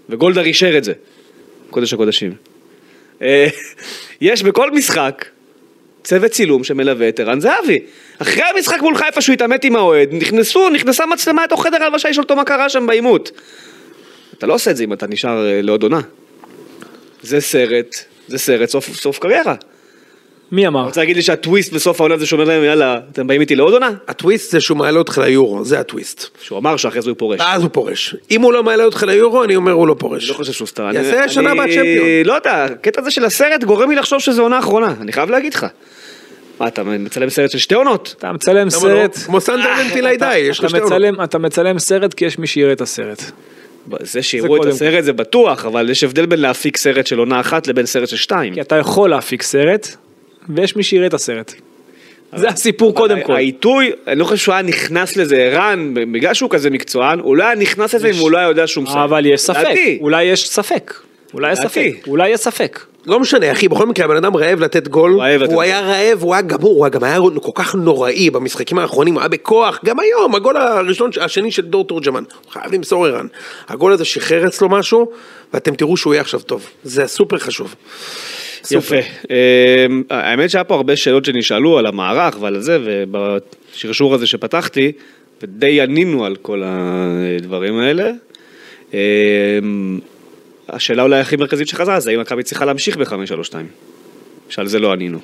וגולדר אישר את זה. קודש הקודשים. אה, יש בכל משחק צוות צילום שמלווה את ערן זהבי. אחרי המשחק מול חיפה שהוא התעמת עם האוהד, נכנסו, נכנסה מצלמה לתוך חדר הלבשה, לשאול אותו מה קרה שם בעימות. אתה לא עושה את זה אם אתה נשאר אה, לעוד עונה. זה סרט, זה סרט סוף, סוף קריירה. מי אמר? רוצה להגיד לי שהטוויסט בסוף העונה זה שאומר להם יאללה, אתם באים איתי לעוד עונה? הטוויסט זה שהוא מעלה אותך ליורו, זה הטוויסט. שהוא אמר שאחרי זה הוא פורש. ואז הוא פורש. אם הוא לא מעלה אותך ליורו, אני אומר הוא לא אני פורש. לא חושב שהוא סתם. יעשה שנה הבאה צ'מפיון. לא יודע, הקטע הזה של הסרט גורם לי לחשוב שזו עונה אחרונה, אני חייב להגיד לך. מה, אתה מצלם סרט של שתי עונות? אתה מצלם למה לא? סרט, כמו אה, סנדרלנד טילי די, יש אתה לך שתי עונות. מצלם- אתה מצלם סרט כי יש מי שיראה את הסרט. זה שיראו את קודם הסרט זה בטוח, אבל יש הבדל בין להפיק סרט של עונה אחת לבין סרט של שתיים. כי אתה יכול להפיק סרט, ויש מי שיראה את הסרט. זה הסיפור קודם אבל כל. העיתוי, אני לא חושב שהוא היה נכנס לזה, ערן, בגלל שהוא כזה מקצוען, הוא לא היה נכנס לזה אם הוא לא היה יודע שהוא מסרט. אבל יש ספק, לדעתי. אולי יש ספק. אולי יש ספק, לדעתי. אולי יש ספק. לא משנה, אחי, בכל מקרה, הבן אדם רעב לתת גול. רעב לתת הוא היה רעב, הוא היה גמור, הוא היה גם היה כל כך נוראי במשחקים האחרונים, הוא היה בכוח. גם היום, הגול הראשון, השני של דור תורג'מן. הוא חייב למסור ערן. הגול הזה שחרר אצלו משהו, ואתם תראו שהוא יהיה עכשיו טוב. זה סופר חשוב. יפה. אמ, האמת שהיה פה הרבה שאלות שנשאלו על המערך ועל זה, ובשרשור הזה שפתחתי, ודי ענינו על כל הדברים האלה. אמ, השאלה אולי הכי מרכזית שחזרה, זה האם מכבי צריכה להמשיך ב-532, שעל זה לא ענינו.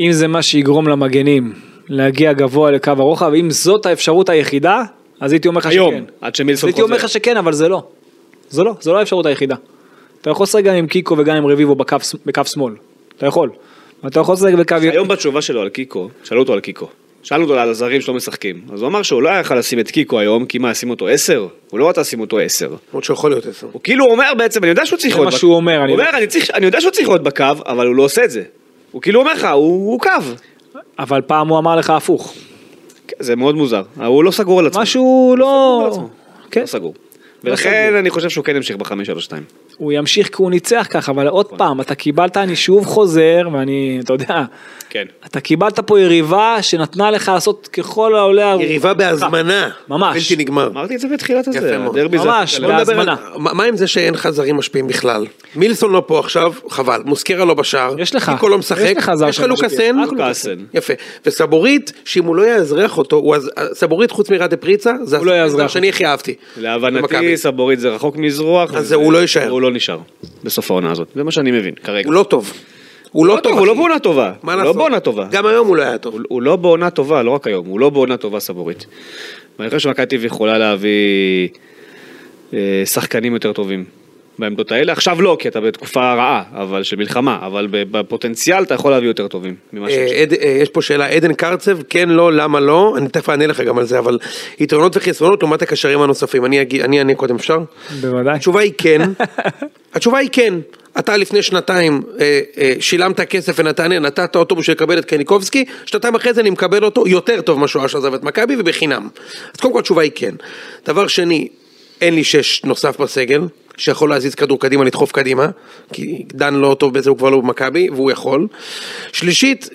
אם זה מה שיגרום למגנים להגיע גבוה לקו הרוחב, אם זאת האפשרות היחידה, אז הייתי אומר לך שכן. היום, עד שמילסון הייתי אומר חוזר. לך שכן, אבל זה לא. זה לא, זה לא האפשרות היחידה. אתה יכול לשחק גם עם קיקו וגם עם רביבו בקו, ש- בקו שמאל. אתה יכול. אתה יכול לשחק בקו... היום בתשובה שלו על קיקו, שאלו אותו על קיקו. שאלנו אותו על הזרים שלא משחקים, אז הוא אמר שהוא לא היה יכול לשים את קיקו היום, כי מה, שים אותו עשר? הוא לא רצה לשים אותו עשר. למרות שיכול להיות עשר. הוא כאילו אומר בעצם, אני יודע שהוא צריך זה להיות מה בק- שהוא אומר, הוא אני לא- אומר, יודע. אני, צריך, אני יודע שהוא צריך להיות בקו, אבל הוא לא עושה את זה. הוא כאילו אומר לך, הוא, הוא קו. אבל פעם הוא אמר לך הפוך. כן, זה מאוד מוזר. הוא לא סגור על עצמו. משהו על לא... עצמו. כן. לא סגור. ולכן אני חושב שהוא כן ימשיך בחמש, שלוש, שתיים. הוא ימשיך כי הוא ניצח ככה, אבל עוד נכון. פעם, אתה קיבלת, אני שוב חוזר, ואני, אתה יודע, כן. אתה קיבלת פה יריבה שנתנה לך לעשות ככל העולה על... יריבה אה, בהזמנה. ממש. בלתי נגמר. אמרתי את זה בתחילת הזה. יפה מאוד. הדרבי זה- ממש, בוא נדבר על- בהזמנה. מה מה עם זה שאין לך זרים משפיעים בכלל? מילסון לא פה עכשיו, חבל. מוסקרה לא בשער. יש לך. קיקו לא משחק. יש לך זר יש לך שם לוקאסן. משפיע. רק לוקאסן. יפה. וסבורית, שאם הוא לא יאזרח אותו, הוא אז- סבורית חוץ מראדה פריצה, זה הוא לא יאזרח. הדבר שאני הכי אהבתי. במכבי. להבנתי, סבורית זה רחוק מזרוח. אז זה הוא לא יישאר. הוא לא נשאר. בסוף העונה הזאת. זה מה שאני מבין, כרגע. הוא לא טוב. הוא לא לא טוב. טוב, הוא לא אחי. בעונה טובה. מה הוא לא לעשות? בעונה טובה. גם היום הוא לא היה טוב. הוא- הוא לא בעונה טובה, לא רק היום, הוא לא בעונה טובה סבורית. ואני חושב שמכבי תל אביב יכולה להביא אה, שחקנים יותר טובים בעמדות האלה. עכשיו לא, כי אתה בתקופה רעה, אבל של מלחמה, אבל בפוטנציאל אתה יכול להביא יותר טובים ממה שיש. אה, עד- אה, יש פה שאלה, עדן קרצב, כן, לא, למה לא, אני תכף אענה לך גם על זה, אבל יתרונות וחסרונות לעומת הקשרים הנוספים, אני אגיד- אני אענה קודם, אפשר? בוודאי. התשובה היא כן, התשובה היא כן. אתה לפני שנתיים אה, אה, שילמת כסף לנתניה, נתת אותו בשביל לקבל את קניקובסקי, שנתיים אחרי זה אני מקבל אותו יותר טוב ממה שהוא היה שעזב את מכבי ובחינם. אז קודם כל התשובה היא כן. דבר שני, אין לי שש נוסף בסגל, שיכול להזיז כדור קדימה, לדחוף קדימה, כי דן לא טוב בזה, הוא כבר לא במכבי, והוא יכול. שלישית,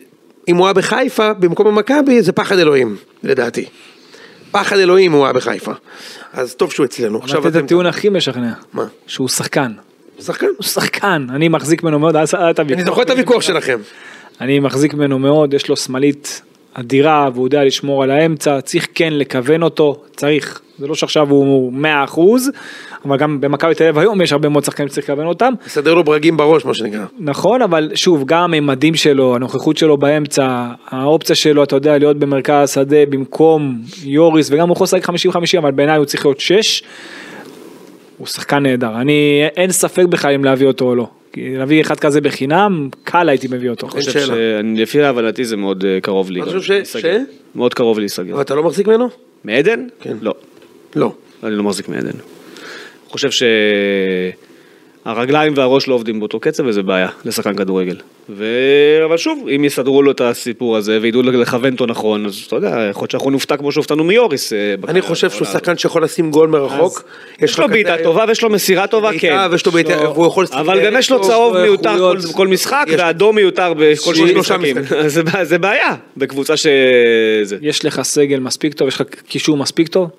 אם הוא היה בחיפה במקום במכבי, זה פחד אלוהים, לדעתי. פחד אלוהים הוא היה בחיפה. אז טוב שהוא אצלנו. עכשיו את הטיעון הכי משכנע. מה? שהוא שחקן. שחקן. הוא שחקן, אני מחזיק ממנו מאוד, אז היה את הוויכוח. אני זוכר את הוויכוח שלכם. אני מחזיק ממנו מאוד, יש לו שמאלית אדירה והוא יודע לשמור על האמצע, צריך כן לכוון אותו, צריך. זה לא שעכשיו הוא 100%, אבל גם במכבי תל אביב היום יש הרבה מאוד שחקנים שצריך לכוון אותם. לסדר לו ברגים בראש, מה שנקרא. נכון, אבל שוב, גם הממדים שלו, הנוכחות שלו באמצע, האופציה שלו, אתה יודע, להיות במרכז השדה במקום יוריס, וגם הוא יכול לשחק 50-50, אבל בעיניי הוא צריך להיות 6. הוא שחקן נהדר, אני, אין ספק בכלל אם להביא אותו או לא. כי להביא אחד כזה בחינם, קל הייתי מביא אותו. אין אני חושב שאלה. שאני- לפי הבנתי זה מאוד אה, קרוב לי. אתה חושב ש- להיסגר. ש? מאוד קרוב להיסגר. אבל אתה לא מחזיק ממנו? מעדן? כן. לא. לא. אני לא מחזיק מעדן. חושב שהרגליים והראש לא עובדים באותו קצב וזה בעיה לשחקן כדורגל. ו... אבל שוב, אם יסדרו לו את הסיפור הזה וידעו לכוון אותו נכון, אז אתה יודע, יכול להיות שאנחנו נופתע כמו שהופתענו מיוריס. אה, אני בקריירה חושב שהוא העונה הזאת. שחקן שיכול לשים גול מרחוק. יש לו בעיטה כזה- טובה ויש לו מסירה טובה, בעיטה כן. ויש לו בעיטה- והוא יכול לשחק אבל גם בערך יש לו טוב, צהוב לו מיותר כל- איכויות. כל משחק, יש- ואדום מיותר בכל שיש שני שלושה משחקים. (laughs) משחקים. זה בע- זה בעיה בקבוצה ש... זה. יש לך סגל מספיק טוב, יש לך קישור מספיק טוב,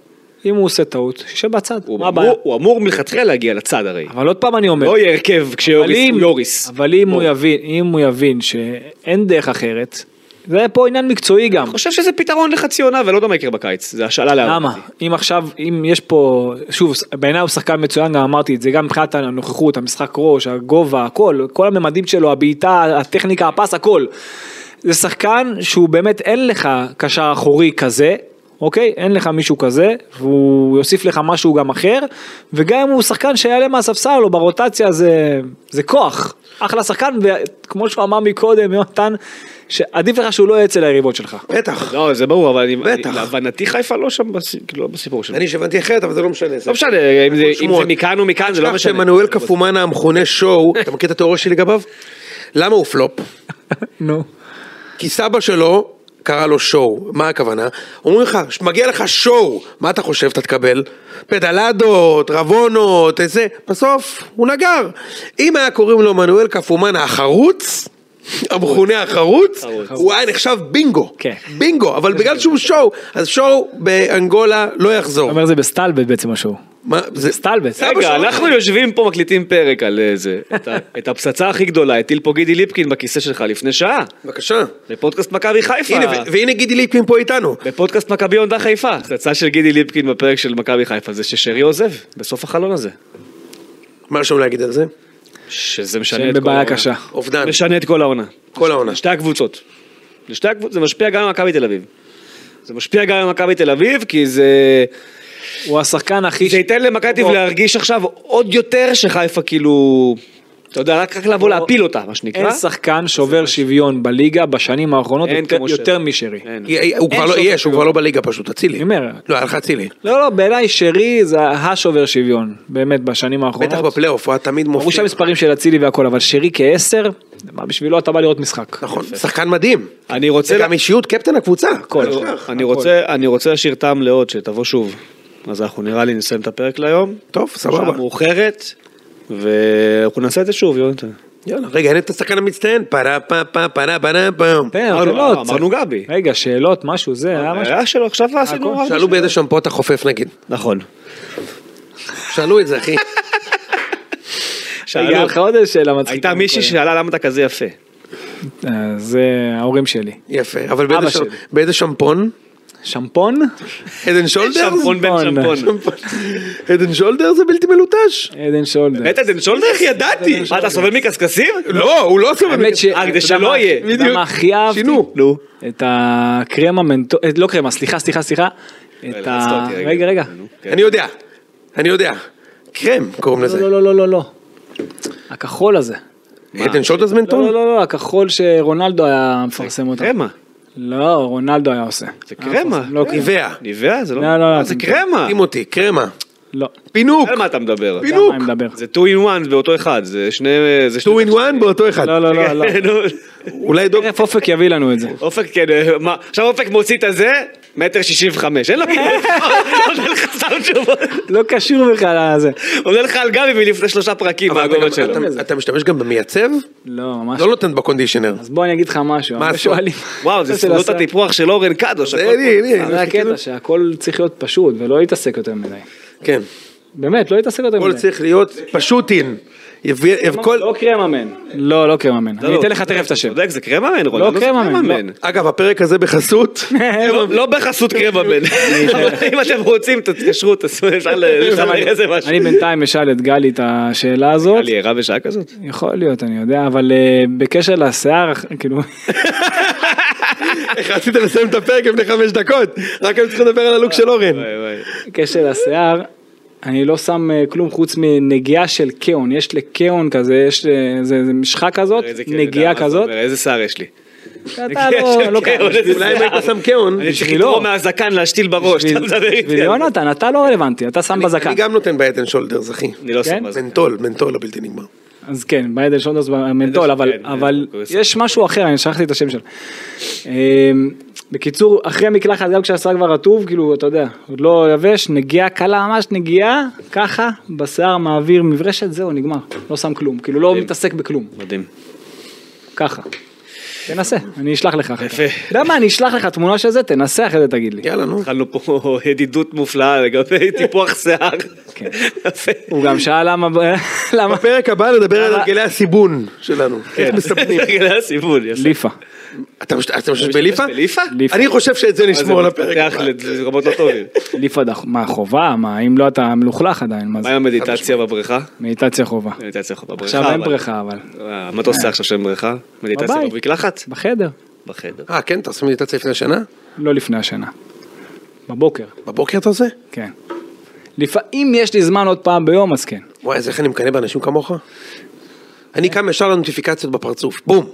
אם הוא עושה טעות, שישב בצד, הוא מה הבעיה? אמור- הוא אמור מלכתחילה להגיע לצד הרי. אבל עוד פעם אני אומר, לא יהיה הרכב אבל כשיוריס אם- הוא יוריס. לא. אבל אם הוא יבין, אם הוא יבין שאין דרך אחרת, זה פה עניין מקצועי גם. אני חושב שזה פתרון לחצי עונה ולא יודע מה יקרה בקיץ, זה השאלה להערכתי. למה? אם עכשיו, אם יש פה, שוב, בעיניי הוא שחקן מצוין, גם אמרתי את זה, גם מבחינת הנוכחות, המשחק ראש, הגובה, הכל, כל הממדים שלו, הבעיטה, הטכניקה, הפס, הכל. זה שחקן שהוא באמת, אין לך קשר אחורי כזה, אוקיי? אין לך מישהו כזה, והוא יוסיף לך משהו גם אחר, וגם אם הוא שחקן שיעלה מהספסל או ברוטציה, זה, זה כוח. אחלה שחקן, וכמו שהוא אמר מקודם, יונתן, שעדיף לך שהוא לא יהיה אצל היריבות שלך. בטח. לא, זה ברור, אבל אני- בטח. אני- להבנתי חיפה לא שם בס- כאילו, לא בסיפור שלו. אני שהבנתי אחרת, אבל זה לא משנה. זה- לא משנה, אם זה אם שמועות. זה מכאן או מכאן, זה לא תשכח משנה. שמנואל קפומאנה המכונה שואו, אתה מכיר את התיאוריה שלי לגביו? למה הוא פלופ? נו. כי סבא שלו קרא לו שואו, מה הכוונה? אומרים לך, מגיע לך שואו, מה אתה חושב אתה תקבל? פדלדות, רבונות, איזה, בסוף הוא נגר. אם היה קוראים לו מנואל קפומאנה החרוץ, המכונה החרוץ, הוא היה נחשב בינגו, כן. בינגו, אבל בגלל שהוא שואו, אז שואו באנגולה לא יחזור. אתה אומר זה בסטלבט בעצם משהו. מה, זה- סטלבט. סבא רגע, שלו- אנחנו יושבים פה מקליטים פרק על אה, זה, את ה- (laughs) את הפצצה הכי גדולה, הטיל פה גידי ליפקין בכיסא שלך לפני שעה, בבקשה. בפודקאסט מכבי חיפה. הנה, ו- והנה גידי ליפקין פה איתנו. בפודקאסט מכבי הונדה חיפה, הפצצה של גידי ליפקין בפרק של מכבי חיפה זה ששרי עוזב בסוף החלון הזה, מה יש לנו להגיד על זה? שזה משנה שהם את כל בבעיה העונה. קשה. אובדן. משנה את כל העונה. כל העונה. לשתי הקבוצות. לשתי הקבוצות, זה משפיע גם על מכבי תל אביב. זה משפיע גם על מכבי תל אביב, כי זה... הוא השחקן הכי... זה ייתן למכבי תל אביב להרגיש עכשיו עוד יותר שחיפה כאילו... אתה יודע, רק רק לבוא לא. להפיל אותה, מה שנקרא. אין שחקן שובר שוויון בליגה בשנים האחרונות אין כן, יותר- כמו יותר שרי. משרי. אין. י- הוא כבר לא, שופט יש, הוא כבר לא בליגה פשוט, אני אצילי. אומר. לא, היה לך אצילי. לא, לא, בעיניי שרי זה השובר שוויון, באמת, בשנים האחרונות. בטח לא. בפלייאוף, הוא היה תמיד אמרו מופיע. שהמספרים של אצילי והכל, אבל שרי כעשר, מה, בשבילו אתה בא לראות משחק. נכון, שחקן מדהים. אני רוצה... זה גם אישיות קפטן הקבוצה. הכל. לא אני- שכח. אני רוצה- אני רוצה להשאיר טעם לעוד, שתבוא שוב. אז אנחנו נראה לי נסיים את הפרק להיום. טוב, שעה סבבה. מאוחרת, ואנחנו נעשה את זה שוב, יונתן. יאללה, רגע, אין את השחקן המצטיין. פרה פה פה פרה פרה פם. תן, אמרנו- אה, שאלות. אמרנו גבי. אה, רגע, שאלות, משהו, זה, היה משהו. היה שלו, עכשיו עשינו... ארבע שאלו שאלות. באיזה שמפו אתה חופף נגיד. נכון. שאלו את זה (laughs) אחי. היה שאלו. לך עוד איזה שאלה מצחיקה. הייתה מישהי אוקיי. שאלה למה אתה כזה יפה. אה, זה ההורים שלי. יפה. אבל באיזה אבא ש- שלי. באיזה שמפון? שמפון? הדן שולדר? שמפון (laughs) בן שמפון. כן. שמפון. הדן שולדר זה בלתי מלוטש. עדן שולדר. באמת אדן שולדר? איך ידעתי? מה, אתה סובל מקסקסים? לא, הוא לא סובל. האמת ש... אה, כדי שלא יהיה. בדיוק. מה הכי אהבתי? שינו. נו. את הקרמה מנטו... אה, לא קרמה, סליחה, סליחה, סליחה. את ה... לחצת אותי, רגע, רגע. לא, נו, כן. אני יודע. אני יודע. קרם קוראים לזה. לא, לא, לא, לא, לא. הכחול הזה. עדן שולדרס לא, מנטון? לא, לא, לא, הכחול שרונלדו היה מפרסם אותו. קרמה. לא, רונלדו היה עושה. זה קרמה. לא, קרמה. ניבאה. ניבאה? זה לא... לא, לא, לא, זה אתה- קרמה. טימותי, קרמה. לא. פינוק. על מה אתה מדבר? בדיוק. מה אני מדבר? זה 2 in 1 באותו אחד. זה שני... זה שני- 2 in 1 באותו אחד. לא, (laughs) לא, לא, לא. נו, אולי דוק. תכף אופק יביא לנו את זה. אופק, כן, אה, מה, עכשיו אופק מוציא את הזה, מטר שישים וחמש, אין לו כאילו, עונה לך סתם תשובות, לא קשור בכלל לזה. עונה לך על גבי מלפני שלושה פרקים, אבל אתה מהגובה גם- שלו. אתה- אתה משתמש גם במייצב? לא, ממש. לא נותן בקונדישנר. אז בוא אני אגיד לך משהו. מה הרבה עשו? שואלים- וואו, זה (laughs) של סודות השיער. הטיפוח של אורן קדוש, זה הכל לי, פה. אה, לא, לי. זה הקטע, שהכל צריך להיות פשוט ולא להתעסק יותר מדי. כן. באמת, לא להתעסק יותר הכל מדי. צריך להיות פשוטין. יביא- יב- כל- לא קרממן. לא, לא קרממן. אני אתן (laughs) לך תכף את השם. צודק, זה קרממן, רולנדו, זה קרממן, לא. אגב, הפרק הזה בחסות. לא- לא בחסות קרממן, אבל (laughs) אם אתם רוצים, תתקשרו, תעשו, אפשר לחבר איזה משהו. (laughs) אני בינתיים אשאל את גלי את השאלה הזאת. אני ערה בשעה כזאת? יכול להיות, אני יודע, אבל אה, בקשר לשיער, (laughs) כאילו, איך רצית לסיים את הפרק לפני חמש דקות? רק היו צריכים לדבר על הלוק של אורן. וואי, וואי. בקשר לשיער, אני לא שם אה, כלום חוץ מנגיעה של קאון, יש לקאון כזה, יש אה, זה זה משחה כזאת, איזה קרממן, נגיעה מה זה כזאת, אומר, איזה שיער יש לי. אתה לא- לא קיים. אולי אם היית שם קאון. אני צריך בשבילו. לתרום מהזקן להשתיל בראש, אתה מדבר בשביל איתי. על- יונתן, אתה לא רלוונטי, אתה שם בזקן. אני גם נותן ביד אנד שולדרס, אחי. אני לא כן? שם מה זה. מנטול, מנטול הבלתי נגמר. אז כן, ביידן שונדרס במנטול, אבל, כן, אבל כן, כן. יש משהו אחר, אני שכחתי את השם שלו. אמ, בקיצור, אחרי מקלחת, גם כשהשיער כבר רטוב, כאילו, אתה יודע, עוד לא יבש, נגיעה קלה ממש, נגיעה, ככה, בשיער מעביר מברשת, זהו, נגמר. לא שם כלום, כאילו, לא כן. מתעסק בכלום, מדהים. ככה. תנסה, אני אשלח לך אחר כך. יפה. אתה יודע מה, אני אשלח לך תמונה של זה, תנסה אחרי זה תגיד לי. יאללה, נו. התחלנו פה ידידות מופלאה (laughs) לגבי טיפוח שיער. כן. יפה. הוא גם שאל למה, (laughs) למה, בפרק הבא נדבר על הרגלי הסיבון שלנו. כן. (laughs) איך מסתפנים. זה הסיבון, יפה. ליפה. אתה מש- אתה משתמש בליפה? בליפה? ליפה. אני חושב שאת זה נשמור על הפרק זה מתפתח הבא. לרמות לא (laughs) טובים. ליפה, דח- מה, חובה? מה, אם לא אתה מלוכלך עדיין, מה מה אה, זה? עם המדיטציה בבריכה? מדיטציה חובה. מדיטציה בבריכה. עכשיו אין אבל- בריכה, אבל. אה, מה אתה עושה עכשיו שאין בריכה? מדיטציה בבית. במקלחת? בחדר, בחדר. אה, כן, אתה עושה מדיטציה לפני השנה? לא לפני השינה. בבוקר, בבוקר אתה עושה? כן. לפעמים יש לי זמן עוד פעם ביום, (laughs) אז כן. וואי, אז איך אני מקנא באנשים כמוך? אני קם ישר לנוטיפיקציות בפרצוף, בום.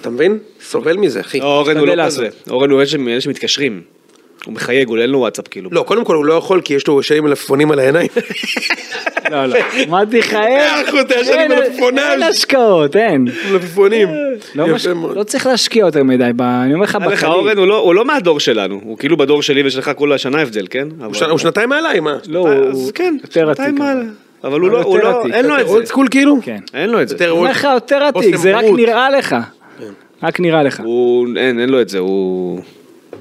אתה מבין? סובל מזה, אחי. לא, אורן הוא משתדל לא כזה. לעשות. אורן הוא אלה שמ- אלה שמתקשרים. הוא מחייג, הוא אין לו וואטסאפ כאילו. לא, קודם כל הוא לא יכול כי יש לו שנים מלפפונים על (laughs) העיניים. לא, לא. אמרתי לך, אין, מאה אחוז, אתה ישן עם אין- מלפפונל. אין השקעות, אין. מלפפונים. לא מש- יפה מאוד. לא צריך להשקיע יותר מדי, ב- אני אומר לך, אומר לך, בקליל. אורן הוא לא- הוא לא מהדור שלנו, הוא כאילו בדור שלי ושלך כולה שנה הבדל, כן? אבל- הוא שנ- הוא שנתיים מעליי, מה? לא, הוא אז כן, יותר עתיק. שנתיים מעלה. אבל. אבל הוא לא, יותר הוא לא, עתיק, אין לו יותר את אולד זה. סקול כאילו? כן. אין לו את זה. יותר אני אומר לך, יותר עתיק, אוסם זה רק רות. נראה לך. כן. רק נראה לך. הוא, אין, אין לו את זה, הוא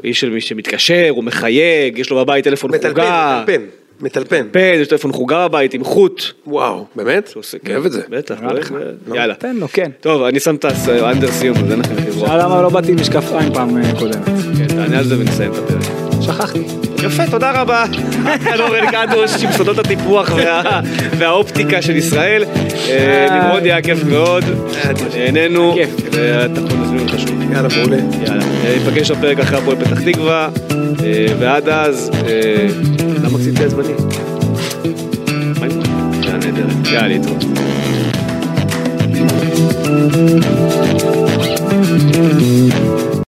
איש של מי שמתקשר, הוא מחייג, יש לו בבית טלפון מטלפן, חוגה. מטלפן, מטלפן. מטלפן, יש טלפון חוגה בבית עם חוט. וואו, באמת? הוא עושה- אוהב את זה. בטח, נראה לך. אוהב, יאללה. תן לו, כן. טוב, אני שם את האנדר סיום, אז אין לכם איך לברוח. שאל למה לא באתי עם משקפיים פעם אה, קודמת. כן, תענה על זה ונסיים את הפרק. שכחתי. יפה, תודה רבה. כאן אורן קדוש עם סודות הטיפוח וה- והאופטיקה של ישראל. אה, נמרודי היה כיף מאוד, נהנינו, אה, כיף. ואנחנו נזמין אותך שוב. יאללה, מעולה. יאללה, אה, ניפגש בפרק אחרי הפועל פתח תקווה, אה, ועד אז, אה, למה עשיתי הזמני? מה עם זה? שאלה נהדרת. יאללה, להתראות.